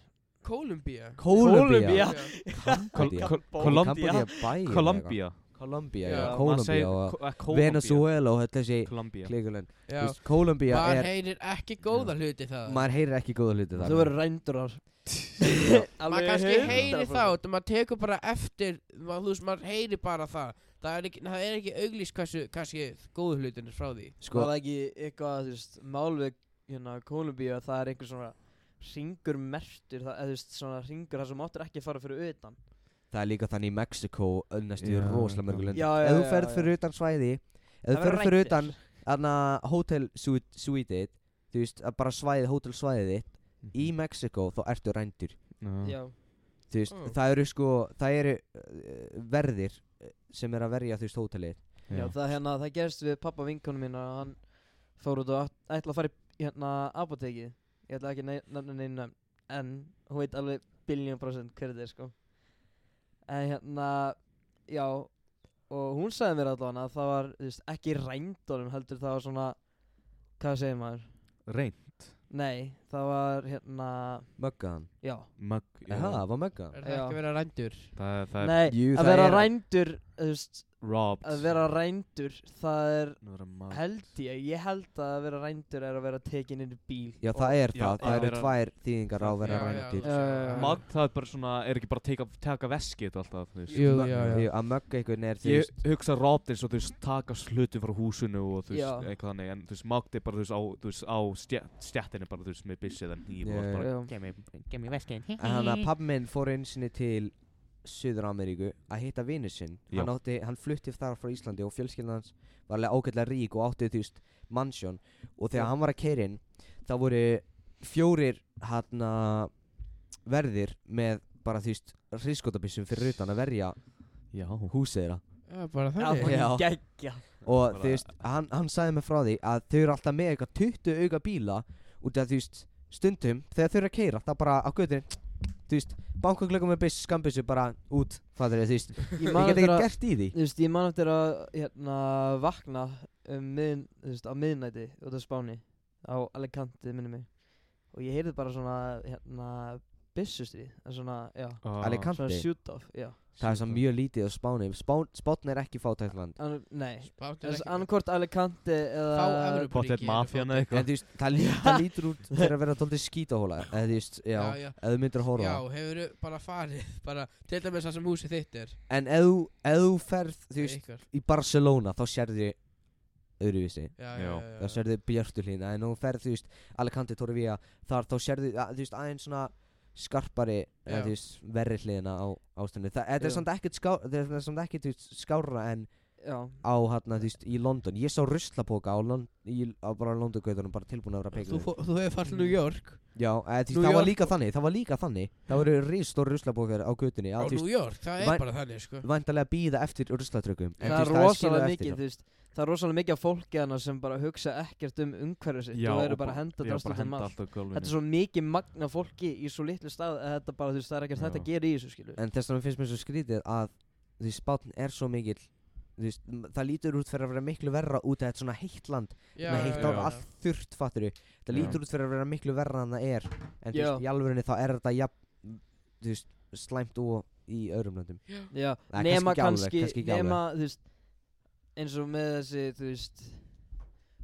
[SPEAKER 2] Kólumbía
[SPEAKER 1] Kólumbía
[SPEAKER 4] Kólumbía.
[SPEAKER 2] Já.
[SPEAKER 1] Kambodí
[SPEAKER 3] Kol- Kol- Kolombía
[SPEAKER 1] Kambodí er bæ
[SPEAKER 3] Kolombia
[SPEAKER 1] Kolumbia,
[SPEAKER 2] Já,
[SPEAKER 1] já,
[SPEAKER 2] maður
[SPEAKER 1] Kolumbia og
[SPEAKER 3] eh,
[SPEAKER 1] Venezuela og þetta sé
[SPEAKER 3] Kolombia
[SPEAKER 1] klíkulönd
[SPEAKER 2] Já.
[SPEAKER 1] Kolumbia
[SPEAKER 2] Maður
[SPEAKER 1] er,
[SPEAKER 2] heyrir ekki góða hluti það
[SPEAKER 1] maður heyrir ekki góða hluti þar
[SPEAKER 4] Þú verður rændur þar
[SPEAKER 2] Maður kannski heyrir þá og maður tekur bara eftir maður, þú veist, maður heyrir bara það það er ekki, það er ekki auglýst hversu kannski góðu hlutin er frá því
[SPEAKER 4] Sko
[SPEAKER 1] Sko,
[SPEAKER 4] það ekki eitthvað, þú veist, mál við hérna Kolumbíu að það er einhver svona ringur mertur, það, eða þú veist, svona ringur þar sem máttur ekki fara fyrir utan
[SPEAKER 1] það er líka þannig í Mexiko Önnast í
[SPEAKER 3] Já,
[SPEAKER 1] rosalega
[SPEAKER 3] já.
[SPEAKER 1] mörgu löndi
[SPEAKER 4] Já, já,
[SPEAKER 1] Ef þú
[SPEAKER 4] já,
[SPEAKER 1] ferð
[SPEAKER 4] já.
[SPEAKER 1] fyrir utan svæði Ef þú
[SPEAKER 4] Það verður
[SPEAKER 1] ferð fyrir
[SPEAKER 4] rænt
[SPEAKER 1] utan
[SPEAKER 4] þér.
[SPEAKER 1] Þannig að hótel suite- suite-ið Þú veist, að bara svæðið, hótel svæðið þitt
[SPEAKER 3] Mhm.
[SPEAKER 1] Í Mexiko þá ertu rændur
[SPEAKER 3] Mm.
[SPEAKER 4] Já,
[SPEAKER 1] Þú veist,
[SPEAKER 4] Mm.
[SPEAKER 2] Oh.
[SPEAKER 1] það eru sko Það eru uh, verðir eh, sem er að verja þú veist hótelið
[SPEAKER 4] já, það hérna, það gerst við pappa vinkonu mín að hann fór út og átt- ætla að fara í hérna apotekið Ég ætla ekki að nei- nefna neina nefn En hún veit alveg biljón prosent hver þetta er sko En hérna, já Og hún sagði mér allavega að það var, þú veist, ekki rændunum heldur það var svona Hvað segir maður?
[SPEAKER 3] Reyn
[SPEAKER 4] Nei, það var hérna,
[SPEAKER 1] Möggaðan
[SPEAKER 4] já,
[SPEAKER 3] Mag
[SPEAKER 1] Já, það var
[SPEAKER 2] er
[SPEAKER 1] möggaðan
[SPEAKER 2] það
[SPEAKER 4] Já.
[SPEAKER 2] ekki að vera rændur
[SPEAKER 3] Það er- það er
[SPEAKER 4] nei,
[SPEAKER 1] Jú,
[SPEAKER 4] að
[SPEAKER 1] það
[SPEAKER 4] vera
[SPEAKER 1] er-
[SPEAKER 4] rændur, þú veist,
[SPEAKER 3] Robbed
[SPEAKER 4] að vera rændur, það er,
[SPEAKER 3] Nú er það mag-
[SPEAKER 4] held ég, ég held að vera rændur er að vera tekin inn í bíl.
[SPEAKER 1] Já,
[SPEAKER 4] Og-
[SPEAKER 1] það er
[SPEAKER 3] Já,
[SPEAKER 1] það, það
[SPEAKER 3] já.
[SPEAKER 1] eru tvær þýðingar á að vera
[SPEAKER 2] Já, já,
[SPEAKER 1] rændur
[SPEAKER 2] þú sér
[SPEAKER 4] Eh,
[SPEAKER 2] það.
[SPEAKER 3] Mag, það er bara svona, er ekki bara að taka, taka veskið alltaf, þú veist
[SPEAKER 2] Jú, já, já.
[SPEAKER 1] Jú, Að mögga einhvern er þú
[SPEAKER 3] Ég
[SPEAKER 1] veist
[SPEAKER 3] hugsa robbed eins og þú veist taka slutin frá húsinu og þú veist
[SPEAKER 4] Já.
[SPEAKER 3] eitthvað þannig en þú veist magt er bara þú veist á, þú veist, á stjætt, stjættinu bara þú veist með byssið en hýf og
[SPEAKER 1] Já,
[SPEAKER 3] allt bara
[SPEAKER 4] Já,
[SPEAKER 5] Gemmi veskin
[SPEAKER 1] En Þannig að pabbi minn fór einu sinni til Suður Ameríku að hitta vinnu sinn
[SPEAKER 3] Já.
[SPEAKER 1] hann, átti, hann flutti þar frá Íslandi og fjölskyldan hans var alveg ágætlega rík og átti þú veist mannsjón og þegar
[SPEAKER 4] Já.
[SPEAKER 1] hann var að keira inn þá voru fjórir hana, verðir með bara þú veist hrískotabissum fyrir utan að verja
[SPEAKER 3] Já,
[SPEAKER 1] húsið þeirra
[SPEAKER 2] Já, bara
[SPEAKER 4] það
[SPEAKER 2] þannig
[SPEAKER 1] Já.
[SPEAKER 4] var geggja.
[SPEAKER 1] og
[SPEAKER 3] Bara-
[SPEAKER 1] þú veist, hann, hann sagði mig frá því að þau eru alltaf með eitthvað 20 auka bíla út af þú veist, stundum þegar þau eru að keira, það bara á göttinni þú veist, banka glöggum með byss, skambissu bara út, fattur þú veist ég
[SPEAKER 4] Ég man
[SPEAKER 1] get
[SPEAKER 4] eftir
[SPEAKER 1] ekki
[SPEAKER 4] að,
[SPEAKER 1] gert í því
[SPEAKER 4] þú veist, ég man eftir að, hérna, vakna um miðn, þú veist, á miðnæti út á Spáni, á Alicante, minni mig. Og ég heyrði bara svona, hérna, byssustrið en svona, já,
[SPEAKER 3] Ah,
[SPEAKER 4] svona
[SPEAKER 1] Alicante
[SPEAKER 4] shoot off já.
[SPEAKER 1] Það er svo mjög lítið á Spáni Spán, Spán er ekki fátækt land
[SPEAKER 4] An, nei,
[SPEAKER 2] Spátt er
[SPEAKER 4] þess
[SPEAKER 2] ekki
[SPEAKER 4] annarkort Alicante eða
[SPEAKER 2] Fá Evrópuríki
[SPEAKER 3] Pottet
[SPEAKER 2] eru
[SPEAKER 3] mafían eða
[SPEAKER 2] fátæk.
[SPEAKER 1] En
[SPEAKER 3] eitthvað
[SPEAKER 1] þú veist, það, lí, það lítur út fyrir að vera tóldið skítahóla Eða þú veist, já,
[SPEAKER 2] Já, já.
[SPEAKER 1] eða þú myndir að horfa
[SPEAKER 2] Já,
[SPEAKER 1] á.
[SPEAKER 2] hefur bara farið bara, Til dæmis það sem húsið þitt er
[SPEAKER 1] En ef þú- ef þú ferð, þú veist,
[SPEAKER 2] ykkar.
[SPEAKER 1] í Barcelona Þá sérðu öðruvísi
[SPEAKER 2] Já,
[SPEAKER 3] Já.
[SPEAKER 2] já,
[SPEAKER 1] þá
[SPEAKER 2] já, já.
[SPEAKER 1] sérðu björtulína en nú ferð þú veist Alicante Torrevia þar þá sérðu að, þú veist aðeins svona skarpari eða,
[SPEAKER 2] Já.
[SPEAKER 1] þú veist verri hliðina á ástæðinu það þetta er
[SPEAKER 4] Já.
[SPEAKER 1] samt ekkert ská það er samt ekkert þú veist, skárra en
[SPEAKER 4] já,
[SPEAKER 1] á hérna þú veist í London ég sá ruslapoka á, Lon í, á bara Londongautunum bara tilbúin að vera
[SPEAKER 2] Þú,
[SPEAKER 1] peikur
[SPEAKER 2] fó- þú hefur farið til New York
[SPEAKER 1] já eða, þú
[SPEAKER 2] New
[SPEAKER 1] veist það var
[SPEAKER 2] York-
[SPEAKER 1] líka þannig það var líka þannig það voru ristor ruslapokar á götunni
[SPEAKER 2] Á
[SPEAKER 1] að þú
[SPEAKER 2] New
[SPEAKER 1] veist
[SPEAKER 2] York, það er
[SPEAKER 1] væn-
[SPEAKER 2] bara þannig sko
[SPEAKER 1] vantarlega býða eftir ruslatrökkum en,
[SPEAKER 4] það
[SPEAKER 1] þú
[SPEAKER 4] er
[SPEAKER 1] veist, skilur
[SPEAKER 4] rosalega
[SPEAKER 1] eftir
[SPEAKER 4] mikið
[SPEAKER 1] hjá.
[SPEAKER 4] þú veist, það er rosalega mikið af fólki hana sem bara hugsa ekkert um umhverfið sitt og eru bara að henda
[SPEAKER 3] já, bara
[SPEAKER 4] drastlið um
[SPEAKER 3] henda
[SPEAKER 4] allt
[SPEAKER 3] allt á gólfinu
[SPEAKER 4] þetta er svo mikið magna fólki í svo litlu stað að þetta bara, þú veist, það er ekkert
[SPEAKER 3] Já.
[SPEAKER 4] þetta að gera í þessu skilu
[SPEAKER 1] en þess vegna finnst mér svo skrítið að því spátn er svo mikill þú veist, m- það lítur út fyrir að vera miklu verra út að þetta er svona heitt land
[SPEAKER 2] Já,
[SPEAKER 1] með heitt
[SPEAKER 2] já,
[SPEAKER 1] ár
[SPEAKER 2] já.
[SPEAKER 1] allt þurrt fattur það
[SPEAKER 3] Já.
[SPEAKER 1] lítur út fyrir að vera miklu verra en það er en þú
[SPEAKER 4] Já.
[SPEAKER 1] veist, í alvörinni þá er þetta jafn, þú veist, slæmt og í öðrum landum
[SPEAKER 4] Já,
[SPEAKER 1] Nei,
[SPEAKER 4] nema
[SPEAKER 1] kannski ekki alveg,
[SPEAKER 4] kannski,
[SPEAKER 1] kannski ekki
[SPEAKER 4] nema, þú veist, eins og með þessi, þú veist,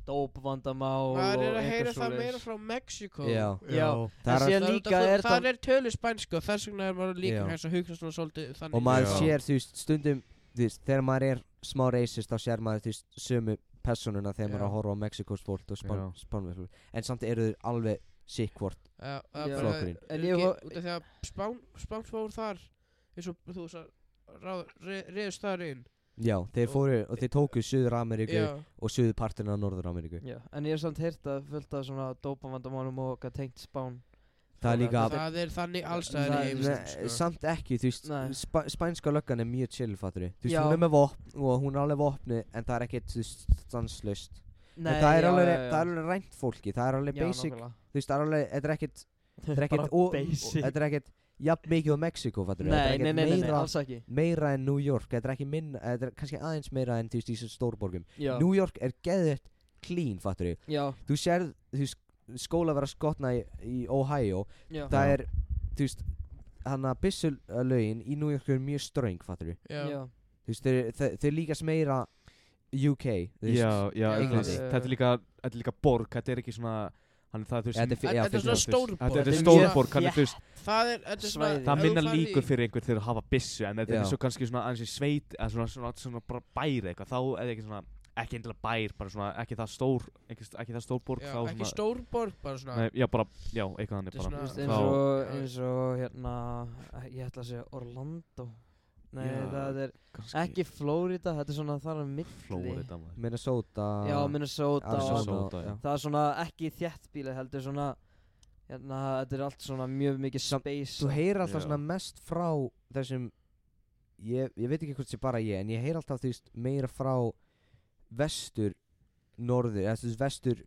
[SPEAKER 4] dópvandamál og
[SPEAKER 2] Maður er að
[SPEAKER 4] eitthvað
[SPEAKER 2] heyra það
[SPEAKER 4] svoleiðis.
[SPEAKER 2] meira frá Mexiko
[SPEAKER 1] já,
[SPEAKER 4] Já,
[SPEAKER 1] það
[SPEAKER 4] en
[SPEAKER 1] er,
[SPEAKER 4] síðan líka er
[SPEAKER 2] Það
[SPEAKER 4] það,
[SPEAKER 2] er tölu spænsko, þess vegna er maður líka
[SPEAKER 1] Já.
[SPEAKER 2] hægt að hugsa svona svolítið þannig
[SPEAKER 1] og maður
[SPEAKER 3] Já.
[SPEAKER 1] sér þú veist, stundum þú veist, þegar maður er smá racist þá sér maður þú veist, sömu personuna þegar maður er að
[SPEAKER 2] Já.
[SPEAKER 1] horfa á Mexikos fólk og
[SPEAKER 3] Já.
[SPEAKER 1] spánverð en samt eru þau alveg sikk hvort
[SPEAKER 2] Já, það
[SPEAKER 4] Já.
[SPEAKER 2] er bara
[SPEAKER 1] Flokkurinn.
[SPEAKER 2] En
[SPEAKER 4] En ég
[SPEAKER 2] ég
[SPEAKER 4] hó-
[SPEAKER 2] Út af því að Spán, Spán fór þar eins og þú sá reyðist þar inn
[SPEAKER 1] já, þeir
[SPEAKER 2] Og-
[SPEAKER 1] fóru og þeir tóku Suður Ameríku
[SPEAKER 2] Já,
[SPEAKER 1] og suðu partina af Norður Ameríku
[SPEAKER 4] já, en ég hef samt heyrt að fullt af svona dópavandamálum og okkar tengt spán.
[SPEAKER 1] Það er líka-
[SPEAKER 4] Þetta-
[SPEAKER 2] það er þannig allstæðar í
[SPEAKER 4] Það-
[SPEAKER 1] Nei,
[SPEAKER 2] heimisins sko.
[SPEAKER 1] samt ekki, þú veist
[SPEAKER 4] Nei.
[SPEAKER 1] spæ, spænska löggan er mjög chill fattur þú veist,
[SPEAKER 4] Já.
[SPEAKER 1] hún er með vopn og hún er alveg vopni en það er ekkert, þú veist, stanslust en
[SPEAKER 4] Nei,
[SPEAKER 1] það er,
[SPEAKER 4] já,
[SPEAKER 1] alveg,
[SPEAKER 4] já, já.
[SPEAKER 1] það er alveg rænt fólki, það er alveg
[SPEAKER 4] Já,
[SPEAKER 1] basic
[SPEAKER 4] nákvæmlega.
[SPEAKER 1] þú veist, það er alveg, þetta er ekkert þetta er
[SPEAKER 4] Bara
[SPEAKER 1] ekkert, og-
[SPEAKER 4] basic.
[SPEAKER 1] og- þetta er ekkert jafn mikið á Mexiko fattur þetta
[SPEAKER 4] Nei,
[SPEAKER 1] er
[SPEAKER 4] nei,
[SPEAKER 1] ekkert
[SPEAKER 4] nei, nei, nei,
[SPEAKER 1] meira,
[SPEAKER 4] alls ekki.
[SPEAKER 1] meira en New York þetta er ekki minna, þetta er kannski aðeins meira en þú veist, í þessum stórborgum
[SPEAKER 4] Já,
[SPEAKER 1] New York er geðvett clean fattur
[SPEAKER 4] já,
[SPEAKER 1] þú sérð, þú veist, skóla vera skotna í, í Ohio
[SPEAKER 4] já.
[SPEAKER 1] það
[SPEAKER 3] Já.
[SPEAKER 1] er, þú veist hann að byssulögin í New York er mjög ströng, fattur við
[SPEAKER 2] Já,
[SPEAKER 4] já.
[SPEAKER 1] þú veist, þeir, þeir, þeir líkast meira UK, þú veist
[SPEAKER 3] já, já,
[SPEAKER 2] Já,
[SPEAKER 3] England.
[SPEAKER 4] já, já.
[SPEAKER 3] þetta er líka þetta er líka borg, þetta er ekki svona hann er það, þú veist,
[SPEAKER 1] Þetta er
[SPEAKER 3] m-
[SPEAKER 1] fyrir-
[SPEAKER 2] Þetta-
[SPEAKER 1] já,
[SPEAKER 2] Þetta
[SPEAKER 1] fyrir-
[SPEAKER 2] er svona
[SPEAKER 1] já,
[SPEAKER 2] stór
[SPEAKER 3] þetta er
[SPEAKER 4] Þetta er
[SPEAKER 3] stór
[SPEAKER 4] mjög
[SPEAKER 3] borg hann er, þú veist,
[SPEAKER 2] Það er, þetta er svona
[SPEAKER 4] Svæði.
[SPEAKER 3] það
[SPEAKER 2] ef þú
[SPEAKER 3] minna
[SPEAKER 2] ferð í-
[SPEAKER 3] líkur fyrir einhvern þegar að hafa byssu en þetta
[SPEAKER 1] Já.
[SPEAKER 3] er svo kannski svona aðeins í sveit eða svona, svona, svona bara bæri eitthvað þá er ekki svona, ekki endilega bær bara svona, ekki það stór, ekki, ekki það stór borg
[SPEAKER 2] Já,
[SPEAKER 3] þá
[SPEAKER 2] Ekki
[SPEAKER 3] svona,
[SPEAKER 2] stórborg, bara svona
[SPEAKER 3] nei, já, bara, já, eitthvað þannig
[SPEAKER 2] Þetta er
[SPEAKER 3] bara
[SPEAKER 2] svona-
[SPEAKER 4] Þú veist,
[SPEAKER 2] Já.
[SPEAKER 4] eins
[SPEAKER 3] Þá-
[SPEAKER 4] og,
[SPEAKER 2] Já.
[SPEAKER 4] eins og, hérna, ég ætla að segja Orlando. Nei,
[SPEAKER 3] Já,
[SPEAKER 4] það er
[SPEAKER 3] kannski
[SPEAKER 4] ekki Florida, þetta er svona þar á milli.
[SPEAKER 3] Florida maður.
[SPEAKER 1] Minnesota
[SPEAKER 4] Já, Minnesota
[SPEAKER 1] Arizona,
[SPEAKER 4] og
[SPEAKER 3] Arizona.
[SPEAKER 1] já.
[SPEAKER 4] það er svona ekki þjættbíli heldur svona hérna, þetta er allt svona mjög mikið space
[SPEAKER 1] þú heyrir alltaf
[SPEAKER 3] Já.
[SPEAKER 1] svona mest frá þessum ég, ég veit ekki hvort sé bara ég en ég heyr alltaf þú veist meira frá vestur norður, eða þú veist vestur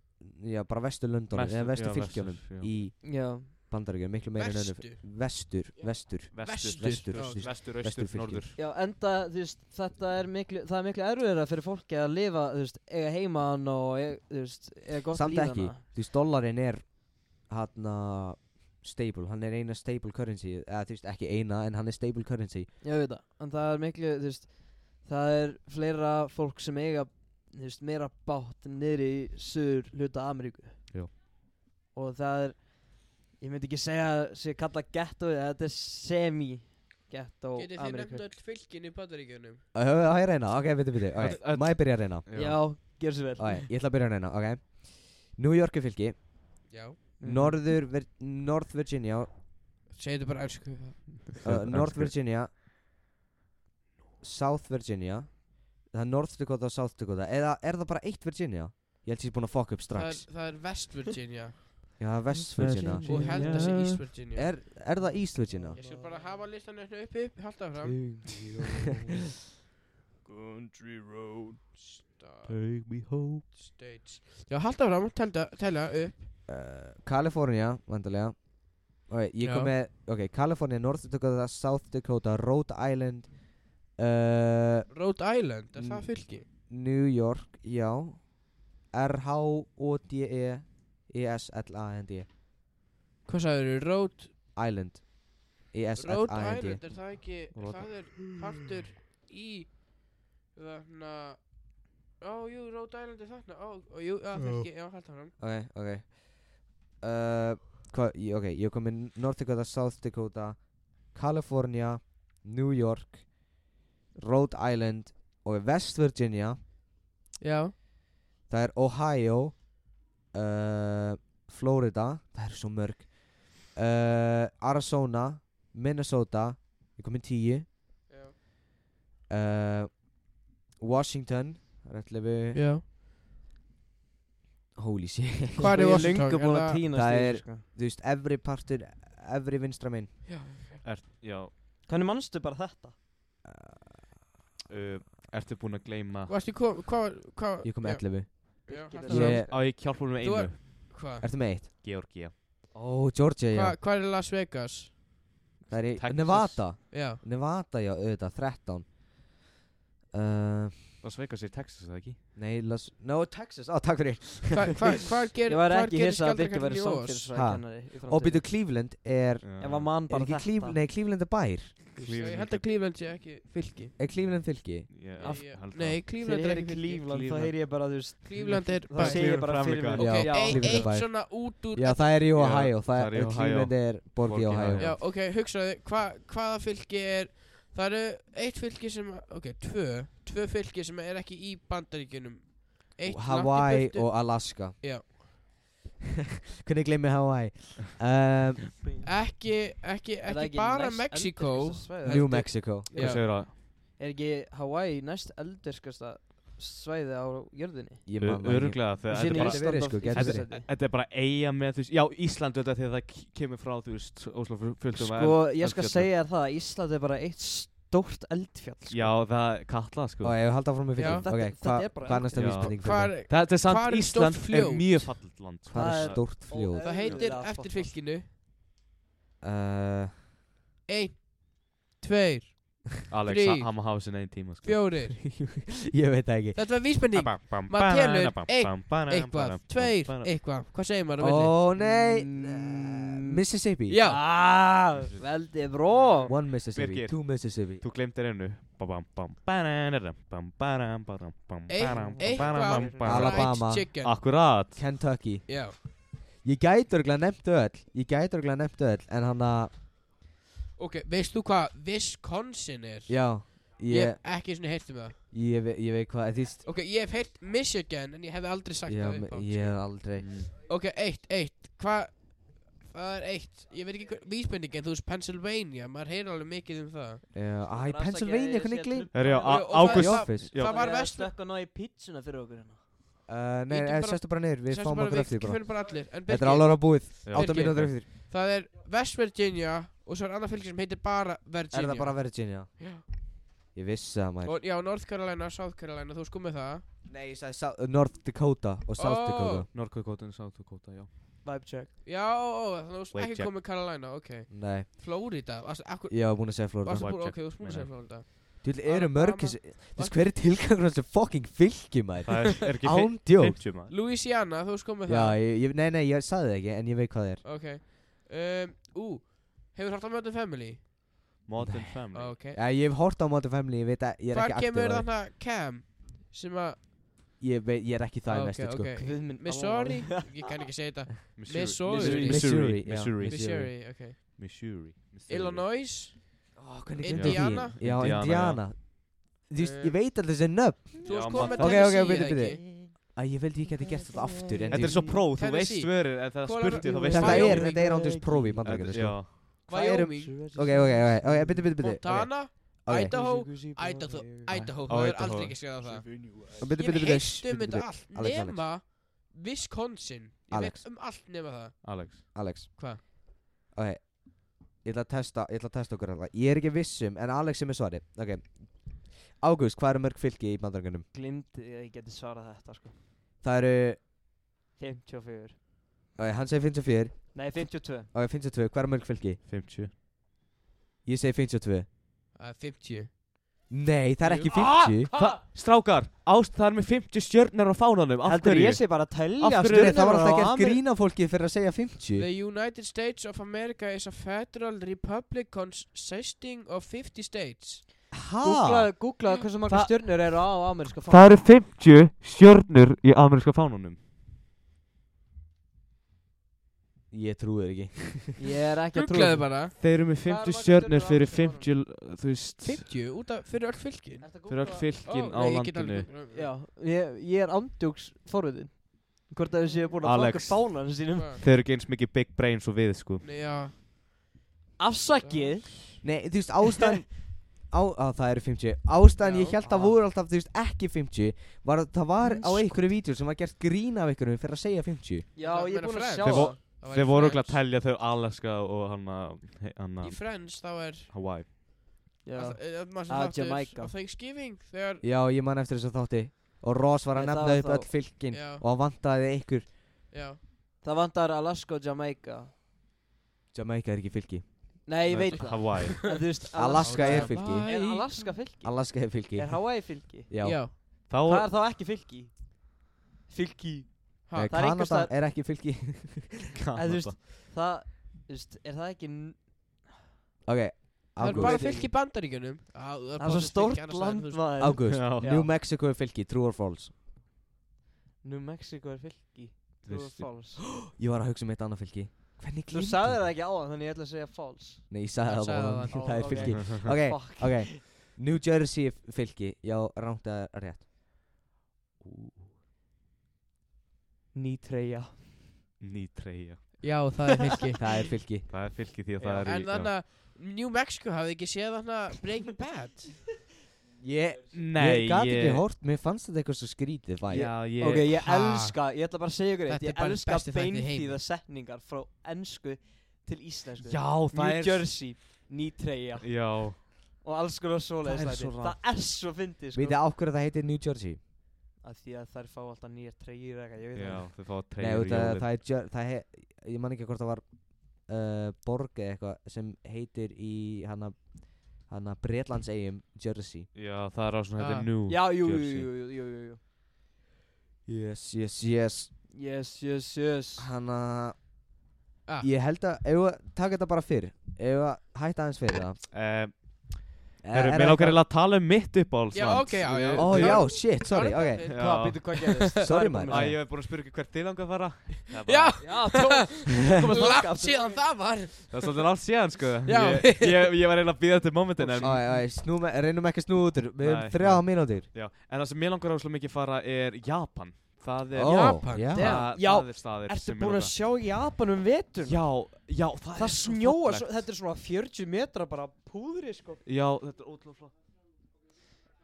[SPEAKER 1] já, bara vestur London,
[SPEAKER 3] Vestur-
[SPEAKER 1] eða vestur
[SPEAKER 3] já,
[SPEAKER 1] fylgjónum
[SPEAKER 3] vestur, já.
[SPEAKER 1] í
[SPEAKER 4] já,
[SPEAKER 1] bandaríkjum, miklu meira en önnur
[SPEAKER 2] Vestur.
[SPEAKER 1] vestur, vestur
[SPEAKER 3] vestur,
[SPEAKER 1] vestur,
[SPEAKER 2] Já,
[SPEAKER 1] vestur.
[SPEAKER 3] vestur,
[SPEAKER 1] Vestur
[SPEAKER 3] austur,
[SPEAKER 1] fylki.
[SPEAKER 3] norður
[SPEAKER 4] já, enda þú veist þetta er miklu, það er miklu erfiðra fyrir fólki að lifa, þú veist, eiga heiman og eiga, þú veist, eiga gott
[SPEAKER 1] samt
[SPEAKER 4] líf
[SPEAKER 1] ekki,
[SPEAKER 4] hana.
[SPEAKER 1] þú veist dollarin er hann stable, hann er eina stable currency eða þú veist ekki eina en hann er stable currency
[SPEAKER 4] ég veit það, en það er miklu, þú veist það er fleira fólk sem eiga þú veist, meira bátt niðri í söður hluta Ameríku
[SPEAKER 3] Já.
[SPEAKER 4] og það er ég myndi ekki segja, sé kalla ghetto þetta er semi-ghetto
[SPEAKER 2] Getið þið nefnt
[SPEAKER 4] Ameríku
[SPEAKER 2] öll fylgin í Bandaríkjunum?
[SPEAKER 1] Það er að reyna, ok, veitum við
[SPEAKER 3] Öll- öll-
[SPEAKER 1] þið Má ég byrja að reyna?
[SPEAKER 4] já, gerðu svo vel
[SPEAKER 1] Ok, ég ætla að byrja að reyna, ok New York er fylki
[SPEAKER 2] Já
[SPEAKER 4] Mhm.
[SPEAKER 1] Norður, Vir North Virginia uh,
[SPEAKER 2] Segðu þetta bara elsku
[SPEAKER 1] North Virginia South Virginia Það er North Dakota og South Dakota Eða er það bara eitt Virginia? Ég held að ég er búin að fuck upp
[SPEAKER 2] það er,
[SPEAKER 1] strax
[SPEAKER 2] það er West Virginia
[SPEAKER 1] Já, það er West Virginia
[SPEAKER 2] Og ég held að sé East Virginia
[SPEAKER 1] Er, er það East Virginia?
[SPEAKER 2] Ég skal bara hafa listan hérna uppi, halda fram
[SPEAKER 3] Country road
[SPEAKER 2] Star
[SPEAKER 3] Take me home
[SPEAKER 2] States Já, halda fram, telda, telja upp
[SPEAKER 1] Uh, California, vandalega Ok, ég kom
[SPEAKER 2] Já.
[SPEAKER 1] með Ok, California, North Dakota, South Dakota Rhode Island uh,
[SPEAKER 2] Rhode Island, er
[SPEAKER 1] Mm.
[SPEAKER 2] það fylgi?
[SPEAKER 1] New York, já E R-H-O-D-E E-S-L-A-N-D
[SPEAKER 2] Hvað sagður þú? Rhode
[SPEAKER 1] Island E
[SPEAKER 2] Rhode
[SPEAKER 1] E-S-L-A-N-D
[SPEAKER 2] Island er það ekki
[SPEAKER 3] Rhode-
[SPEAKER 2] það er partur í þarna ó jú Rhode Island er þarna ó og jú já það ekki já hætti hann
[SPEAKER 1] Ok, ok uh, hva, í- Ok, ég kom með North Dakota, South Dakota California, New York Rhode Island og West Virginia
[SPEAKER 2] já
[SPEAKER 1] Það er Ohio uh, Florida Það eru svo mörg uh, Arizona Minnesota Ég kom með tíu
[SPEAKER 2] já
[SPEAKER 1] uh, Washington Rættlefi
[SPEAKER 2] já
[SPEAKER 1] Holy shit
[SPEAKER 2] Hvar er
[SPEAKER 4] Ég
[SPEAKER 2] Washington?
[SPEAKER 4] löngu búinn
[SPEAKER 2] Er
[SPEAKER 4] að
[SPEAKER 2] það-
[SPEAKER 4] týnast
[SPEAKER 1] Það
[SPEAKER 4] í
[SPEAKER 1] er-
[SPEAKER 4] þessu, sko.
[SPEAKER 1] Þú veist, efri partur Efri vinstra minn
[SPEAKER 2] já
[SPEAKER 3] Ert, já
[SPEAKER 4] Hvernig mannstu bara þetta?
[SPEAKER 3] uh, Ertu búinn að gleyma
[SPEAKER 2] varstu kom hvað var hvað
[SPEAKER 1] Ég kom með 11
[SPEAKER 2] já
[SPEAKER 4] Birgir
[SPEAKER 2] hætti
[SPEAKER 4] er-
[SPEAKER 2] hann
[SPEAKER 1] Ég-
[SPEAKER 3] Á, ég hjálpa hún með
[SPEAKER 2] Þú
[SPEAKER 3] einu
[SPEAKER 2] er- hvað
[SPEAKER 1] Ertu með eitt?
[SPEAKER 3] Georgia
[SPEAKER 1] Ó, Georgia, já
[SPEAKER 2] hvað hvað er Las Vegas
[SPEAKER 1] Það er í
[SPEAKER 3] Texas.
[SPEAKER 1] Nevada
[SPEAKER 2] já
[SPEAKER 1] Nevada, já, auðvitað, 13 uh,
[SPEAKER 3] Las Vegas er í Texas, er það ekki?
[SPEAKER 1] Nei, Las... No, Texas, á, takk fyrir
[SPEAKER 2] hvað hvað hvað
[SPEAKER 4] Ég
[SPEAKER 2] gerir
[SPEAKER 4] var
[SPEAKER 2] hvað
[SPEAKER 4] ekki
[SPEAKER 2] gerir
[SPEAKER 4] hissa að Birkir
[SPEAKER 2] skjaldrekarnir
[SPEAKER 4] væri
[SPEAKER 2] í Ós
[SPEAKER 1] Ha.
[SPEAKER 4] songfyrirsvæðkennari í
[SPEAKER 1] Og
[SPEAKER 4] framtíðinni
[SPEAKER 1] býtu Cleveland er
[SPEAKER 4] Ef að mann
[SPEAKER 1] Er
[SPEAKER 4] bara
[SPEAKER 1] ekki Cleveland,
[SPEAKER 4] þetta
[SPEAKER 1] nei, Cleveland er bær
[SPEAKER 2] ég held að Cleveland sé ekki fylki
[SPEAKER 1] Er Cleveland fylki?
[SPEAKER 3] Af,
[SPEAKER 2] Ég-
[SPEAKER 3] held
[SPEAKER 2] nei
[SPEAKER 4] Þegar
[SPEAKER 2] Cleveland
[SPEAKER 4] ég
[SPEAKER 2] er
[SPEAKER 4] heyri
[SPEAKER 2] ekki fylki
[SPEAKER 4] Cleveland þá
[SPEAKER 3] Cleveland.
[SPEAKER 4] heyri ég bara þú veist
[SPEAKER 2] Cleveland er
[SPEAKER 4] Það
[SPEAKER 3] Bæ.
[SPEAKER 2] bær
[SPEAKER 4] segir ég bara
[SPEAKER 3] Cleveland
[SPEAKER 4] fyrir
[SPEAKER 3] framleikan.
[SPEAKER 4] mér
[SPEAKER 1] Já,
[SPEAKER 2] ok ein-
[SPEAKER 1] Cleveland er
[SPEAKER 2] eitt
[SPEAKER 1] bær.
[SPEAKER 2] svona út úr
[SPEAKER 1] Já, það er í
[SPEAKER 3] Já,
[SPEAKER 1] Ohio, það,
[SPEAKER 3] það er í
[SPEAKER 1] er
[SPEAKER 3] Ohio.
[SPEAKER 1] Cleveland er borg í
[SPEAKER 3] Borg í
[SPEAKER 1] Ohio
[SPEAKER 2] Já, ok, hugsaðu, hva, hvaða fylki er Það eru eitt fylki sem Ok, tvö, tvö fylki sem er ekki í bandaríkjunum Eitt
[SPEAKER 1] Og
[SPEAKER 2] langt í
[SPEAKER 1] Hawaii
[SPEAKER 2] burtu-
[SPEAKER 1] og Alaska
[SPEAKER 2] Já.
[SPEAKER 1] Hvernig gleymi Hawaii? Um,
[SPEAKER 4] Cleveland
[SPEAKER 2] Ekki, ekki,
[SPEAKER 4] Er það
[SPEAKER 2] ekki bara
[SPEAKER 4] næst
[SPEAKER 2] Mexíkó
[SPEAKER 4] eldvirkasta svæði?
[SPEAKER 1] New Mexico
[SPEAKER 3] Hvað segir það?
[SPEAKER 4] Er ekki Hawaii næst eldurskasta svæði á jörðinni?
[SPEAKER 1] Ég man það ekki
[SPEAKER 3] Öruglega þegar
[SPEAKER 1] Ég
[SPEAKER 3] þetta
[SPEAKER 1] sinni
[SPEAKER 3] er bara
[SPEAKER 1] Ísland. verið, sko, gæti
[SPEAKER 3] verið. Þetta er bara eiga með þú veist Já, Ísland auðvitað þegar það ke- kemur frá þú veist Óslo fullt um
[SPEAKER 4] Sko, ég skal
[SPEAKER 3] eldfjallið.
[SPEAKER 4] segja þér það Ísland er bara eitt stórt eldfjall sko.
[SPEAKER 3] Já, það Katla sko
[SPEAKER 1] Og ég haldi áfram með
[SPEAKER 2] Já.
[SPEAKER 1] fyrir
[SPEAKER 4] Þetta-
[SPEAKER 1] Ok,
[SPEAKER 4] þetta
[SPEAKER 1] hva-
[SPEAKER 4] er bara-
[SPEAKER 1] hvað er næsta
[SPEAKER 3] Já.
[SPEAKER 1] vísbending? fyrir
[SPEAKER 2] Hvar,
[SPEAKER 1] mig?
[SPEAKER 3] Það er
[SPEAKER 2] Hvar
[SPEAKER 3] samt
[SPEAKER 2] er stórt
[SPEAKER 3] Ísland er
[SPEAKER 2] fljót?
[SPEAKER 3] mjög fallit land
[SPEAKER 1] Hvað
[SPEAKER 4] það
[SPEAKER 1] er
[SPEAKER 4] er-
[SPEAKER 1] stórt fljóð?
[SPEAKER 2] það heitir
[SPEAKER 4] Eðlilega
[SPEAKER 2] eftir
[SPEAKER 4] flott
[SPEAKER 2] fylkinu
[SPEAKER 1] Uh,
[SPEAKER 2] Einn, tveir,
[SPEAKER 3] Alex,
[SPEAKER 2] Þrír.
[SPEAKER 3] ha- hann má hafa sinna einn tíma sko
[SPEAKER 2] fjórir
[SPEAKER 1] ég veit það ekki
[SPEAKER 2] Þetta var vísbending Maður telur Eitthvað, tveir, eitthvað Hvað segir maður á milli?
[SPEAKER 1] Ó nei
[SPEAKER 4] Mm.
[SPEAKER 1] Mississippi
[SPEAKER 2] Já,
[SPEAKER 4] ah, Veldi bró
[SPEAKER 1] One Mississippi,
[SPEAKER 3] Birgir.
[SPEAKER 1] two Mississippi
[SPEAKER 3] Þú glemtir einu
[SPEAKER 2] Ein- eitthvað
[SPEAKER 1] Alabama.
[SPEAKER 2] fried chicken
[SPEAKER 3] Akkurat
[SPEAKER 1] Kentucky
[SPEAKER 2] Já,
[SPEAKER 1] Ég gæti örgulega nefnt öll Ég gæti örgulega nefnt öll En hann að
[SPEAKER 2] ok, veist þú hvað Wisconsin er?
[SPEAKER 1] Já
[SPEAKER 2] Ég
[SPEAKER 1] Ég
[SPEAKER 2] hef ekki svona heyrt um það
[SPEAKER 1] Ég, ve ég veit hvað Þýst
[SPEAKER 2] Ok, ég hef heyrt Michigan en ég hef aldrei sagt
[SPEAKER 1] Já,
[SPEAKER 2] það
[SPEAKER 1] me-
[SPEAKER 2] upp á
[SPEAKER 1] ég hef aldrei
[SPEAKER 2] Ok, eitt, eitt, hvað Það er eitt, ég veit ekki hver Vísbendingin, þú veist Pennsylvania, maður heyrir alveg mikið um það
[SPEAKER 1] Já, Æ, Pennsylvania, hvernig gleym
[SPEAKER 3] Herri, já,
[SPEAKER 2] Og- og það-
[SPEAKER 1] Í
[SPEAKER 3] águst
[SPEAKER 2] það-
[SPEAKER 1] office
[SPEAKER 3] Já.
[SPEAKER 2] Það var
[SPEAKER 4] Ég er að
[SPEAKER 2] vestlun
[SPEAKER 4] slökkva ná í pizzuna fyrir okkur hérna
[SPEAKER 1] uh, Nei,
[SPEAKER 2] Bíddu
[SPEAKER 1] eh,
[SPEAKER 2] bara-
[SPEAKER 1] sestu bara niður Við
[SPEAKER 2] Sjástu
[SPEAKER 1] fáum
[SPEAKER 2] bara
[SPEAKER 1] okkur
[SPEAKER 2] við,
[SPEAKER 1] eftir bara
[SPEAKER 2] fyrir bara allir En
[SPEAKER 1] Þetta er
[SPEAKER 2] Birgir,
[SPEAKER 1] alveg að búið
[SPEAKER 2] Birgir.
[SPEAKER 1] Átta mínútur eftir
[SPEAKER 2] það er West Virginia Og svo er annað fylgir sem heitir bara Virginia
[SPEAKER 1] Er það bara Virginia?
[SPEAKER 2] Já.
[SPEAKER 1] Ég vissi það maður
[SPEAKER 2] Og, já, North Carolina, South Carolina, þú sko með það
[SPEAKER 1] Nei, ég sagði Sou- North Dakota og South
[SPEAKER 2] Ó.
[SPEAKER 1] Dakota
[SPEAKER 3] Norðkókóta en Sáttúkóta, já
[SPEAKER 4] Vibe check
[SPEAKER 2] Já, ó, ó, þannig að þú veist
[SPEAKER 3] Wait,
[SPEAKER 2] ekki
[SPEAKER 3] check.
[SPEAKER 2] komið Carolina, ok
[SPEAKER 1] Nei,
[SPEAKER 2] Florida, varstu, akkur,
[SPEAKER 1] ég hef búin að segja Florida
[SPEAKER 2] varstu
[SPEAKER 3] Vibe
[SPEAKER 2] búin,
[SPEAKER 3] check,
[SPEAKER 2] ok, þú spúin að segja
[SPEAKER 3] meina
[SPEAKER 2] Florida
[SPEAKER 1] Þú vil eru mörg
[SPEAKER 2] Alabama.
[SPEAKER 1] þessi Þú veist hver er tilgangur þessi fucking fylki maður
[SPEAKER 3] Það er- er ekki
[SPEAKER 1] Án
[SPEAKER 3] fi-
[SPEAKER 1] djók
[SPEAKER 3] 50 maður
[SPEAKER 2] Louisiana, þú sko með
[SPEAKER 1] Já,
[SPEAKER 2] það
[SPEAKER 1] ég, ég- nei, nei, ég sagði það ekki en ég veit hvað það er
[SPEAKER 2] Ok um, Ú, hefur hort á Modern Family?
[SPEAKER 3] Modern Family
[SPEAKER 2] Ok
[SPEAKER 1] Já, ég hef hort á Modern Family, ég veit að ég er
[SPEAKER 2] Hvað
[SPEAKER 1] ekki
[SPEAKER 2] kemur
[SPEAKER 1] aktíf á því
[SPEAKER 2] þarna Cam? Sem að
[SPEAKER 1] Ég veit, ég er ekki það
[SPEAKER 2] Ah,
[SPEAKER 1] okay, mest, sko
[SPEAKER 2] ok Missouri? Ég kann ekki segja þetta Missouri.
[SPEAKER 3] Missouri
[SPEAKER 1] Missouri, já. Missouri.
[SPEAKER 3] Missouri
[SPEAKER 2] Missouri, ok
[SPEAKER 3] Missouri Missouri.
[SPEAKER 2] Illinois
[SPEAKER 1] Ó, hvernig glemdi
[SPEAKER 2] Já.
[SPEAKER 1] ég því?
[SPEAKER 2] Indiana?
[SPEAKER 1] Já,
[SPEAKER 3] Indiana, já.
[SPEAKER 1] Indiana Þú veist, ég
[SPEAKER 2] Eh.
[SPEAKER 1] veit að þessi nöfn
[SPEAKER 2] Þú
[SPEAKER 3] Já,
[SPEAKER 2] varst komið
[SPEAKER 3] maður-
[SPEAKER 2] með
[SPEAKER 1] Ok, ok,
[SPEAKER 2] Tennessee
[SPEAKER 1] bíddu,
[SPEAKER 2] eða
[SPEAKER 1] bíddu.
[SPEAKER 2] ekki?
[SPEAKER 1] að ég veldi ég geti gert þetta aftur en
[SPEAKER 3] Þetta er
[SPEAKER 1] ég-
[SPEAKER 3] svo próf, þú veist
[SPEAKER 2] Tennessee.
[SPEAKER 3] svörið En það
[SPEAKER 2] Colorado-
[SPEAKER 3] spurti, þá veist
[SPEAKER 1] Þetta
[SPEAKER 2] Wyoming.
[SPEAKER 1] er, þetta er ándjós prófi í bandaríkjunum,
[SPEAKER 3] Já,
[SPEAKER 1] sko
[SPEAKER 2] Wyoming
[SPEAKER 1] Ok, ok, ok, ok, bitti, bitti, bitti
[SPEAKER 2] Montana
[SPEAKER 1] Ok,
[SPEAKER 2] Idaho Idaho Idaho
[SPEAKER 3] Á,
[SPEAKER 2] Það er
[SPEAKER 3] Idaho.
[SPEAKER 2] aldrei ekki segjað á það
[SPEAKER 1] bitti,
[SPEAKER 2] Ég
[SPEAKER 1] bitti,
[SPEAKER 2] hef heilt um
[SPEAKER 1] bitti
[SPEAKER 2] þetta allt
[SPEAKER 1] Alex, Alex.
[SPEAKER 2] Nema Wisconsin Ég
[SPEAKER 1] Alex.
[SPEAKER 2] veit um allt nema það
[SPEAKER 3] Alex
[SPEAKER 1] Alex
[SPEAKER 2] Hvað?
[SPEAKER 1] Ok, ég ætla að testa, ég ætla að testa okkur alltaf Ég er ekki vissum, en Alex er með svari Ok Ágúst, hvað eru mörg fylki í bandaríkjunum?
[SPEAKER 4] Glimti að ég geti svarað þetta sko
[SPEAKER 1] Það eru,
[SPEAKER 4] 54
[SPEAKER 1] ok, hann segir 54
[SPEAKER 4] Nei, 52
[SPEAKER 1] Ok, 52, hvað eru mörg fylki?
[SPEAKER 3] 50
[SPEAKER 1] Ég segi 52
[SPEAKER 2] Það er 50
[SPEAKER 1] Nei, það er ekki
[SPEAKER 2] Jú.
[SPEAKER 1] 50
[SPEAKER 3] Þa, Strákar, ást það er með 50 stjörnur á fánanum Af
[SPEAKER 4] Heldur
[SPEAKER 3] hverju?
[SPEAKER 4] ég sé bara að telja
[SPEAKER 3] Af hverju?
[SPEAKER 1] Nei, Það var
[SPEAKER 4] stjörnur
[SPEAKER 1] alltaf
[SPEAKER 4] á
[SPEAKER 1] gert
[SPEAKER 4] Ameríku.
[SPEAKER 1] grína fólki fyrir að segja 50
[SPEAKER 2] The United States of America is a federal republic consisting of 50 states.
[SPEAKER 1] Hæ?
[SPEAKER 4] Googlaðu, googlaðu hversu margar
[SPEAKER 3] Það-
[SPEAKER 4] stjörnur eru á ameríska fána
[SPEAKER 3] Það eru 50 stjörnur í ameríska fánanum
[SPEAKER 1] Ég trúi þér ekki
[SPEAKER 4] Ég er ekki að trúa
[SPEAKER 2] Guglaðu bara.
[SPEAKER 3] Þeir eru með
[SPEAKER 4] Hvað eru
[SPEAKER 3] 50
[SPEAKER 4] margar stjörnur
[SPEAKER 3] stjörnur
[SPEAKER 4] á
[SPEAKER 3] fyrir
[SPEAKER 4] ameríska
[SPEAKER 3] 50, l- þú veist
[SPEAKER 2] 50 út af fyrir öll fylkin.
[SPEAKER 3] Fyrir öll fylkin á
[SPEAKER 2] nei, ég get
[SPEAKER 3] landinu
[SPEAKER 2] alveg googlað.
[SPEAKER 4] Já, ég, ég er andjóks forvitin Hvort að þessi er búin að
[SPEAKER 3] Alex.
[SPEAKER 4] fokka fánan sínum
[SPEAKER 2] Hvað?
[SPEAKER 3] Þeir eru ekki eins mikið big brains og við sko
[SPEAKER 2] Nei, Já.
[SPEAKER 4] Afsakið
[SPEAKER 1] Nei, þú veist, ástæðan á, á, Það eru 50 Ástæðan
[SPEAKER 2] Já.
[SPEAKER 1] ég held að voru alltaf, þú veist, ekki 50 var, að Það var á einhverju vídeo sem var gert grína af einhverjum fyrir að segja 50
[SPEAKER 4] Já,
[SPEAKER 2] Það
[SPEAKER 4] ég
[SPEAKER 2] meina
[SPEAKER 4] er búin að
[SPEAKER 2] Friends.
[SPEAKER 4] sjá
[SPEAKER 3] Þeir
[SPEAKER 4] það
[SPEAKER 3] vo-
[SPEAKER 2] Það var í
[SPEAKER 3] Þeir voru ekki að
[SPEAKER 2] Friends.
[SPEAKER 3] telja þau Alaska og hana, he- hana
[SPEAKER 2] Í Friends þá er
[SPEAKER 3] Hawaii
[SPEAKER 4] Já.
[SPEAKER 2] að- eh, maður sem
[SPEAKER 4] Ah,
[SPEAKER 2] þáttur
[SPEAKER 4] Jamaica.
[SPEAKER 2] á Thanksgiving þegar
[SPEAKER 1] Já, ég man eftir þess að þátti Og Ross var að
[SPEAKER 4] Nei, það
[SPEAKER 1] nefna
[SPEAKER 4] var
[SPEAKER 1] upp
[SPEAKER 4] þá-
[SPEAKER 1] öll fylkin
[SPEAKER 2] Já.
[SPEAKER 1] Og hann vantaði einhver
[SPEAKER 2] já,
[SPEAKER 4] Það vantar Alaska og Jamaica
[SPEAKER 1] Jamaica er ekki fylki
[SPEAKER 4] Nei, ég
[SPEAKER 3] Nei,
[SPEAKER 4] veit það
[SPEAKER 3] Hawaii
[SPEAKER 4] En þú veist,
[SPEAKER 1] Alaska er fylki
[SPEAKER 2] Hawaii.
[SPEAKER 4] Er Alaska fylki?
[SPEAKER 1] Alaska er fylki
[SPEAKER 4] Er Hawaii fylki?
[SPEAKER 1] Já,
[SPEAKER 2] já.
[SPEAKER 3] Þá
[SPEAKER 4] Það er þá ekki fylki Fylki
[SPEAKER 2] Ha,
[SPEAKER 1] Eh,
[SPEAKER 4] það er einhvers
[SPEAKER 1] Kanada
[SPEAKER 4] staðar-
[SPEAKER 1] er ekki fylki
[SPEAKER 4] En þú
[SPEAKER 3] Kanada
[SPEAKER 4] veist, það Þú veist, er það ekki n-
[SPEAKER 1] Ok,
[SPEAKER 2] það er
[SPEAKER 1] ágúst
[SPEAKER 2] bara fylki í bandaríkjunum Já,
[SPEAKER 4] Það er svo stórt land maður
[SPEAKER 1] Ágúst,
[SPEAKER 3] Já.
[SPEAKER 1] New Mexico er fylki, true or false
[SPEAKER 4] New Mexico er fylki
[SPEAKER 3] Þú
[SPEAKER 4] True or
[SPEAKER 3] veist,
[SPEAKER 4] false
[SPEAKER 1] Ég var að hugsa um eitt annað fylki Hvernig
[SPEAKER 4] Þú
[SPEAKER 1] glimti?
[SPEAKER 4] sagðir það ekki á þannig ég ætla að segja false
[SPEAKER 1] Nei, ég sagði
[SPEAKER 2] Hann
[SPEAKER 1] það
[SPEAKER 2] sagði
[SPEAKER 1] bara
[SPEAKER 2] það.
[SPEAKER 1] Það er
[SPEAKER 4] Ó,
[SPEAKER 1] fylki
[SPEAKER 3] ok.
[SPEAKER 1] Ok,
[SPEAKER 4] Fuck.
[SPEAKER 1] ok New Jersey er fylki Já, rámt að rétt
[SPEAKER 4] Ný treyja
[SPEAKER 3] Ný treyja
[SPEAKER 2] Já, það er fylki
[SPEAKER 1] Það er fylki
[SPEAKER 3] Það er fylki því að það er
[SPEAKER 2] En
[SPEAKER 3] í já.
[SPEAKER 2] þannig að New Mexico hafði ekki séð þannig að Breaking Bad
[SPEAKER 1] Ég,
[SPEAKER 3] Nei,
[SPEAKER 1] ég gat ekki hórt Mér fannst þetta eitthvað svo skrítið væ
[SPEAKER 3] Já, ég
[SPEAKER 4] Ok, ég
[SPEAKER 2] Ha.
[SPEAKER 4] elska, ég ætla bara að segja ykkur eitt
[SPEAKER 2] Þetta er
[SPEAKER 4] Ég
[SPEAKER 2] bara
[SPEAKER 4] elska
[SPEAKER 2] besti þættir í heimi.
[SPEAKER 4] beintíða setningar frá ennsku til íslensku
[SPEAKER 3] Já, það
[SPEAKER 4] New
[SPEAKER 3] er
[SPEAKER 4] Jersey, ný treyja
[SPEAKER 3] Já
[SPEAKER 4] og alls konar
[SPEAKER 3] Það
[SPEAKER 4] svoleiðis
[SPEAKER 3] er
[SPEAKER 4] þættir.
[SPEAKER 3] svo rangt.
[SPEAKER 4] Það er svo fyndið sko
[SPEAKER 1] Veitir á hverju það heitir New Jersey?
[SPEAKER 4] að Því að þær fá alltaf nýja treyjur eða eitthvað, ég veit
[SPEAKER 3] Já,
[SPEAKER 4] það
[SPEAKER 3] þau fá
[SPEAKER 1] Nei,
[SPEAKER 3] treyjur
[SPEAKER 1] út af að það er Jer- það he, Ég man ekki hvort það var uh, Borg eða eitthvað sem heitir í hana hana Bretlandsegjum Jersey
[SPEAKER 3] Já, það er á svona
[SPEAKER 2] Ah.
[SPEAKER 3] þetta nú
[SPEAKER 4] Já, jú, jú,
[SPEAKER 3] Jersey.
[SPEAKER 4] jú, jú, jú, jú, jú
[SPEAKER 1] Yes, yes, yes
[SPEAKER 4] Yes, yes, yes
[SPEAKER 1] Hanna
[SPEAKER 2] Ah.
[SPEAKER 1] Ég held að, ef að taka þetta bara fyrr Ef að hætta aðeins fyrir það
[SPEAKER 3] Um,
[SPEAKER 1] Er-
[SPEAKER 3] Herru,
[SPEAKER 1] er
[SPEAKER 3] mér
[SPEAKER 1] eitthvað-
[SPEAKER 3] langar eiginlega að tala um mitt uppáhalds
[SPEAKER 2] Já, ok, já, já
[SPEAKER 1] Ó
[SPEAKER 2] Klár-
[SPEAKER 1] já, shit, sorry,
[SPEAKER 2] klár-
[SPEAKER 1] ok
[SPEAKER 3] Já.
[SPEAKER 4] Hvað, býttu hvað gerðist?
[SPEAKER 1] Sorry, maður.
[SPEAKER 3] Æ, ég hef búin að spyrja ekki hvert þið langar að fara Það er bara-
[SPEAKER 2] Já,
[SPEAKER 4] Já, tók, kom að þakka
[SPEAKER 2] langt síðan það var
[SPEAKER 3] Það er svolítið langt síðan, sko
[SPEAKER 2] Já.
[SPEAKER 3] Ég, ég, ég var eiginlega að býða til momentin en,
[SPEAKER 1] Æ, æ, snúme, reynum ekki að snúa út úr Við
[SPEAKER 3] Nei,
[SPEAKER 1] höfum þrjá mínútur
[SPEAKER 3] já, en það sem mér langar óslega mikið að fara er Japan Það er,
[SPEAKER 1] Ó,
[SPEAKER 2] Japan,
[SPEAKER 1] já.
[SPEAKER 4] damn.
[SPEAKER 3] það,
[SPEAKER 4] Já,
[SPEAKER 3] það er staðir
[SPEAKER 4] Ertu
[SPEAKER 3] sem mig
[SPEAKER 4] búin að
[SPEAKER 3] langar-
[SPEAKER 4] sjá Japan um vetur?
[SPEAKER 3] Já, já, það,
[SPEAKER 4] Það
[SPEAKER 3] er svo
[SPEAKER 4] snjóa,
[SPEAKER 3] fallegt.
[SPEAKER 4] svo, þetta er svona 40 metra bara af púðri sko Hérna,
[SPEAKER 3] Já, þetta er ótrúlega flott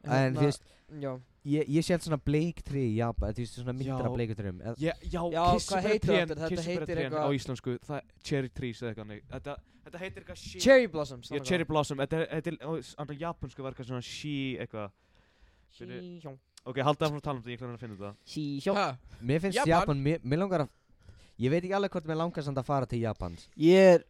[SPEAKER 1] En þú veist,
[SPEAKER 4] Já,
[SPEAKER 1] ég, ég sé allt svona bleiktrý í Japan Þú veist, svona myndir
[SPEAKER 3] Já.
[SPEAKER 1] af bleiktrýum
[SPEAKER 3] Já, já,
[SPEAKER 4] Já, hvað heitir
[SPEAKER 3] kirsuberjatrén-
[SPEAKER 4] þetta? Þetta heitir
[SPEAKER 3] kirsuberjatrén
[SPEAKER 4] eitthvað-
[SPEAKER 3] á íslensku, það er cherry trees eða eitthvað nei. þetta, þetta heitir eitthvað she
[SPEAKER 4] Cherry Blossoms
[SPEAKER 3] Já, cherry blossom, þetta er- þetta er andan japansku var eitthvað svona she eitthvað fyrir-
[SPEAKER 4] Blossoms
[SPEAKER 3] Ok, haldið áfram að tala um þetta, ég ætla að finna þetta
[SPEAKER 4] Síhjó
[SPEAKER 2] Ha,
[SPEAKER 1] Mér finnst
[SPEAKER 2] Japan.
[SPEAKER 1] Japan, mér, mér langar að Ég veit ekki alveg hvort mér langar samt að fara til Japans
[SPEAKER 4] Ég er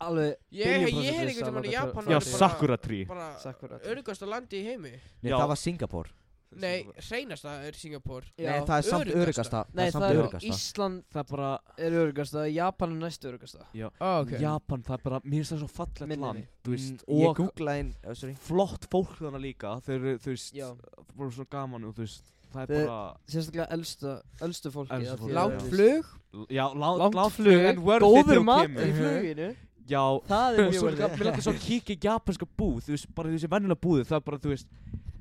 [SPEAKER 4] alveg
[SPEAKER 2] Ég
[SPEAKER 4] Billion
[SPEAKER 2] ég
[SPEAKER 4] procent
[SPEAKER 2] er
[SPEAKER 4] vissi
[SPEAKER 2] einhvern veginn
[SPEAKER 4] alveg
[SPEAKER 2] í
[SPEAKER 4] hvað-
[SPEAKER 2] Japan
[SPEAKER 3] Já,
[SPEAKER 4] er bara-
[SPEAKER 3] sakura tree
[SPEAKER 2] Bara
[SPEAKER 4] Sakura tree.
[SPEAKER 2] örgasta landi í heimi
[SPEAKER 1] Nei,
[SPEAKER 3] Já.
[SPEAKER 1] það var Singapore
[SPEAKER 2] Nei, hreinasta er Singapore
[SPEAKER 4] Já.
[SPEAKER 1] Nei, það er samt
[SPEAKER 2] Öruggasta.
[SPEAKER 1] örugasta Það
[SPEAKER 4] Nei
[SPEAKER 1] er
[SPEAKER 4] það
[SPEAKER 1] samt
[SPEAKER 4] er
[SPEAKER 1] örugasta
[SPEAKER 4] Ísland
[SPEAKER 3] Það er bara,
[SPEAKER 4] er örugasta Japan er næst örugasta
[SPEAKER 2] Ó, ok
[SPEAKER 3] Japan, það er bara, mér finnst það svo fallegt
[SPEAKER 4] Minnir
[SPEAKER 3] land
[SPEAKER 4] mig.
[SPEAKER 3] Þú veist,
[SPEAKER 1] Mm, Ég
[SPEAKER 3] og
[SPEAKER 1] googlaði inn, oh, sorry
[SPEAKER 3] flott fólk þarna líka Þau eru, þú veist,
[SPEAKER 4] Já
[SPEAKER 3] voru svona gaman og þú veist Það
[SPEAKER 4] Þau-
[SPEAKER 3] er bara,
[SPEAKER 4] Sérstaklega elsta Elstu fólki
[SPEAKER 3] Elsta
[SPEAKER 4] af því
[SPEAKER 3] fólki.
[SPEAKER 4] að-
[SPEAKER 2] Langt flug
[SPEAKER 3] já, lá-
[SPEAKER 4] Langt
[SPEAKER 3] langt
[SPEAKER 4] flug,
[SPEAKER 3] flug en worth it þegar
[SPEAKER 4] Góður
[SPEAKER 3] þú
[SPEAKER 4] matur í
[SPEAKER 3] kemur.
[SPEAKER 4] fluginu
[SPEAKER 3] Mhm. Já,
[SPEAKER 4] Það er
[SPEAKER 3] Og
[SPEAKER 4] mjög
[SPEAKER 3] svo líka,
[SPEAKER 4] verið
[SPEAKER 3] mér langar svo að kíkja í japanska búð, þú veist, bara þessi venjulega búði, það er bara, þú veist,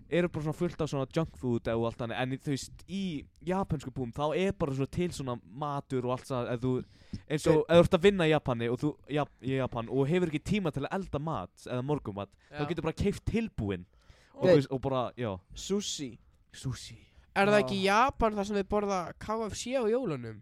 [SPEAKER 3] eru bara svona fullt af svona junk food og allt þannig, en í- þú veist, í japansku búðum, þá er bara svona til svona matur og allt það, eða þú, eins og, eða þú ert að vinna í Japani og þú, ja, í Japan, og hefur ekki tíma til að elda mat, eða morgumat, þá
[SPEAKER 2] Já.
[SPEAKER 3] getur bara keift tilbúin, og,
[SPEAKER 4] Nei.
[SPEAKER 3] þú veist, og bara, já,
[SPEAKER 4] Sushi
[SPEAKER 3] sushi.
[SPEAKER 2] Er það
[SPEAKER 4] Já.
[SPEAKER 2] ekki í Japan þar sem þið borða KFC á jólunum?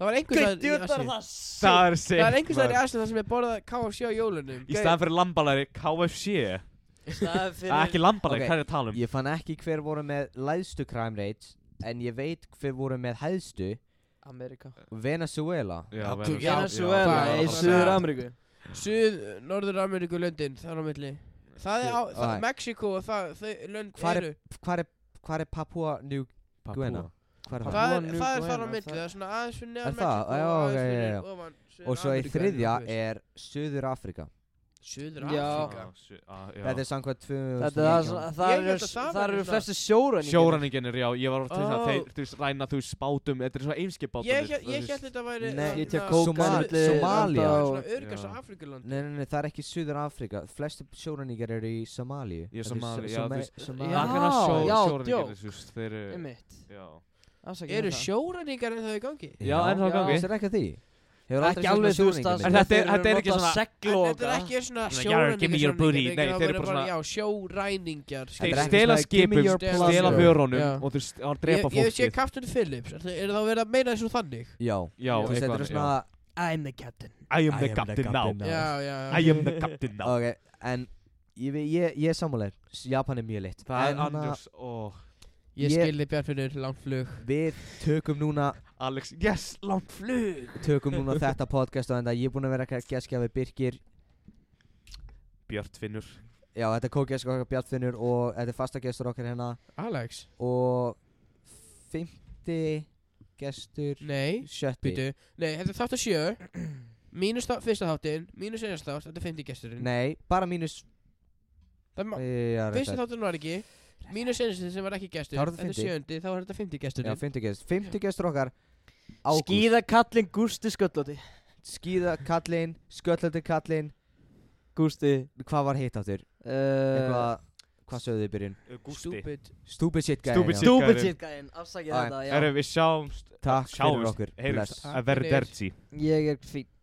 [SPEAKER 2] Það var einhvers
[SPEAKER 4] Gauð,
[SPEAKER 2] staðar í
[SPEAKER 4] djöðlar
[SPEAKER 2] Asíu
[SPEAKER 4] það
[SPEAKER 3] Það
[SPEAKER 4] sick.
[SPEAKER 3] er sick,
[SPEAKER 2] Það er einhvers staðar í Asíu þar sem þið borða KFC á jólunum
[SPEAKER 3] Í staðan fyrir lambalæri, KFC,
[SPEAKER 4] Í staðinn
[SPEAKER 3] það
[SPEAKER 4] fyrir-
[SPEAKER 3] er Ah, ekki lambalæri,
[SPEAKER 1] Ok.
[SPEAKER 3] hvað er að tala um?
[SPEAKER 1] Ég fann ekki hver voru með læðstu crime rates En ég veit hver voru með hæðstu
[SPEAKER 4] Amerika
[SPEAKER 1] Venezuela
[SPEAKER 2] Já,
[SPEAKER 3] verður-
[SPEAKER 2] já,
[SPEAKER 4] Venezuela
[SPEAKER 2] já,
[SPEAKER 4] í
[SPEAKER 2] já.
[SPEAKER 4] Suður Ameríku
[SPEAKER 2] Suð, Norður Ameríku löndin, þar á milli Það er á,
[SPEAKER 1] Shit,
[SPEAKER 2] það,
[SPEAKER 1] alright.
[SPEAKER 2] Mexiko og það, þau lönd
[SPEAKER 1] Hvar er-
[SPEAKER 2] eru
[SPEAKER 1] Hvar er, hvar er Papua New Guinea? Hvar er
[SPEAKER 4] Papua-
[SPEAKER 1] það?
[SPEAKER 2] Það er,
[SPEAKER 4] Papua New
[SPEAKER 2] það er þar á
[SPEAKER 4] Guinea,
[SPEAKER 2] milli,
[SPEAKER 4] það-
[SPEAKER 2] það er svona aðeins fyrir
[SPEAKER 1] Er
[SPEAKER 2] neðan
[SPEAKER 1] það?
[SPEAKER 2] Mexiko
[SPEAKER 1] Já,
[SPEAKER 2] og aðeins
[SPEAKER 1] ok, já,
[SPEAKER 2] fyrir
[SPEAKER 1] já.
[SPEAKER 2] ofan
[SPEAKER 1] Og svo í
[SPEAKER 2] Suður-Ameríku,
[SPEAKER 1] þriðja
[SPEAKER 2] þú veist.
[SPEAKER 1] er Suður Afrika
[SPEAKER 2] Suður
[SPEAKER 4] Já.
[SPEAKER 2] Afrika
[SPEAKER 1] Þetta er samkvæmt 200
[SPEAKER 4] Þetta er það sem,
[SPEAKER 2] Ég
[SPEAKER 4] þar
[SPEAKER 2] held að
[SPEAKER 4] eru,
[SPEAKER 2] það
[SPEAKER 4] þar
[SPEAKER 2] væri
[SPEAKER 4] eru
[SPEAKER 2] svona-
[SPEAKER 4] flestu sjóræningjarnir.
[SPEAKER 3] Sjóræninginir, já, ég var oft til þess
[SPEAKER 2] Ó.
[SPEAKER 3] að um þeir, þú veist, ræna þú veist, bátum, þetta er svona eimskip bátum
[SPEAKER 2] Ég hélt- ég hélt þetta væri
[SPEAKER 1] Nei,
[SPEAKER 2] þarna-
[SPEAKER 4] Ethiopia,
[SPEAKER 1] Soma-
[SPEAKER 4] milli
[SPEAKER 1] Somalia.
[SPEAKER 4] landa og-
[SPEAKER 2] Svona örgast
[SPEAKER 3] Já.
[SPEAKER 2] Afrikuland
[SPEAKER 1] Nei, nei, nei, það er ekki Suður Afríka Flestu sjóræningar eru í Somalíu
[SPEAKER 3] Í
[SPEAKER 1] Þetta er
[SPEAKER 3] Somalíu,
[SPEAKER 1] Soma-
[SPEAKER 3] já, þú veist-
[SPEAKER 1] Somalíu.
[SPEAKER 4] Já,
[SPEAKER 3] Akkurna hérna sjó,
[SPEAKER 4] já,
[SPEAKER 3] sjóræninginir,
[SPEAKER 4] djók.
[SPEAKER 3] þú veist, þeir eru,
[SPEAKER 4] Einmitt.
[SPEAKER 3] já
[SPEAKER 4] Afsakið um
[SPEAKER 2] Eru
[SPEAKER 4] það.
[SPEAKER 2] sjóræningar en það í gangi?
[SPEAKER 3] Já, en
[SPEAKER 4] já.
[SPEAKER 3] það gangi
[SPEAKER 1] Það er ekki að því Hefur aldrei
[SPEAKER 4] Ekki
[SPEAKER 1] séð
[SPEAKER 4] alveg
[SPEAKER 1] svona
[SPEAKER 4] þú veist
[SPEAKER 1] sjóræningja
[SPEAKER 4] að
[SPEAKER 1] mikið.
[SPEAKER 3] En þetta er- þetta er ekki svona-
[SPEAKER 2] En þetta er
[SPEAKER 4] segloka
[SPEAKER 2] ekki svona
[SPEAKER 3] Svona, yeah,
[SPEAKER 2] sjóræningjar
[SPEAKER 3] give me your
[SPEAKER 2] sem
[SPEAKER 3] booty.
[SPEAKER 2] eru-
[SPEAKER 3] Nei,
[SPEAKER 2] það
[SPEAKER 3] þeir eru
[SPEAKER 2] eru
[SPEAKER 3] bara
[SPEAKER 2] bara,
[SPEAKER 3] svona-
[SPEAKER 2] já, sjóræningjar
[SPEAKER 1] Þetta
[SPEAKER 3] Þeir
[SPEAKER 1] er ekki
[SPEAKER 3] stela
[SPEAKER 1] svona, give me
[SPEAKER 3] skipum,
[SPEAKER 1] your
[SPEAKER 2] stela-
[SPEAKER 1] plunger.
[SPEAKER 3] stela
[SPEAKER 2] Já.
[SPEAKER 3] vörunum og þú veist, að
[SPEAKER 2] Ég
[SPEAKER 3] drepa
[SPEAKER 2] ég sé
[SPEAKER 3] fólkið
[SPEAKER 2] Captain Phillips, er það er það verið að meina þessu þannig?
[SPEAKER 1] Já,
[SPEAKER 3] Já,
[SPEAKER 1] þú veist, þetta
[SPEAKER 3] eitthvað,
[SPEAKER 1] eru svona
[SPEAKER 4] I'm the captain
[SPEAKER 3] I am
[SPEAKER 1] I
[SPEAKER 3] the captain now
[SPEAKER 1] captain
[SPEAKER 2] Já, já,
[SPEAKER 3] I am the captain now
[SPEAKER 1] Ok, en Ég, ve- ég, ég er sammálaður, Japan er mjög lit
[SPEAKER 3] Það
[SPEAKER 1] En uh,
[SPEAKER 3] er
[SPEAKER 1] hana-
[SPEAKER 3] Anders og
[SPEAKER 2] Ég
[SPEAKER 1] Ég-
[SPEAKER 2] skildi Bjarnfinnur langt flug
[SPEAKER 1] Við tökum núna
[SPEAKER 3] Alex Yes, langt flug
[SPEAKER 1] Tökum núna þetta podcast og enda Ég er búin að vera að geskja við Birkir
[SPEAKER 3] Björt Finnur
[SPEAKER 1] Já, þetta er kókjask okkar Bjartfinnur Og þetta er fasta gestur okkar hérna
[SPEAKER 2] Alex?
[SPEAKER 1] Og Fymti Gestur
[SPEAKER 2] Nei,
[SPEAKER 1] Sjötti
[SPEAKER 2] býtu Nei, þetta er þátt að sjö Mínus þá, fyrsta þáttin, mínus einast þátt, þetta er 50 gesturinn
[SPEAKER 1] Nei, bara mínus eh,
[SPEAKER 2] Það er ma-
[SPEAKER 1] Já,
[SPEAKER 2] Fyrsta
[SPEAKER 1] réttar.
[SPEAKER 2] þáttin var ekki Mínus einast sem var ekki gestur
[SPEAKER 1] Þá er þetta
[SPEAKER 2] Þetta er
[SPEAKER 1] 50.
[SPEAKER 2] sjöndi, þá er þetta 50
[SPEAKER 1] Já,
[SPEAKER 2] gesturinn
[SPEAKER 1] fymti gestur Fymti gestur okkar Ágúst
[SPEAKER 4] Skíða kallin Gústi sköllóti
[SPEAKER 1] Skíða kallinn Sköllöldi kallinn
[SPEAKER 4] Gústi
[SPEAKER 1] Hvað var hitt áttur?
[SPEAKER 4] Eh, Eitthvað
[SPEAKER 1] Eitthvað Hvað sögðu þið í byrjun?
[SPEAKER 2] Stupid
[SPEAKER 1] Stupid shit gæði
[SPEAKER 3] Stupid shit.
[SPEAKER 4] Stupid
[SPEAKER 3] Gærin.
[SPEAKER 4] shit gæinn Afsakið
[SPEAKER 1] Æ,
[SPEAKER 4] þetta
[SPEAKER 3] Erum
[SPEAKER 4] já.
[SPEAKER 3] við sjáumst
[SPEAKER 1] Takk fyrir
[SPEAKER 3] Sjáumst
[SPEAKER 1] okkur.
[SPEAKER 3] Heyrumst
[SPEAKER 1] Bless.
[SPEAKER 3] Að verður
[SPEAKER 2] Takk fyrir.
[SPEAKER 3] dertsi
[SPEAKER 4] Ég er fín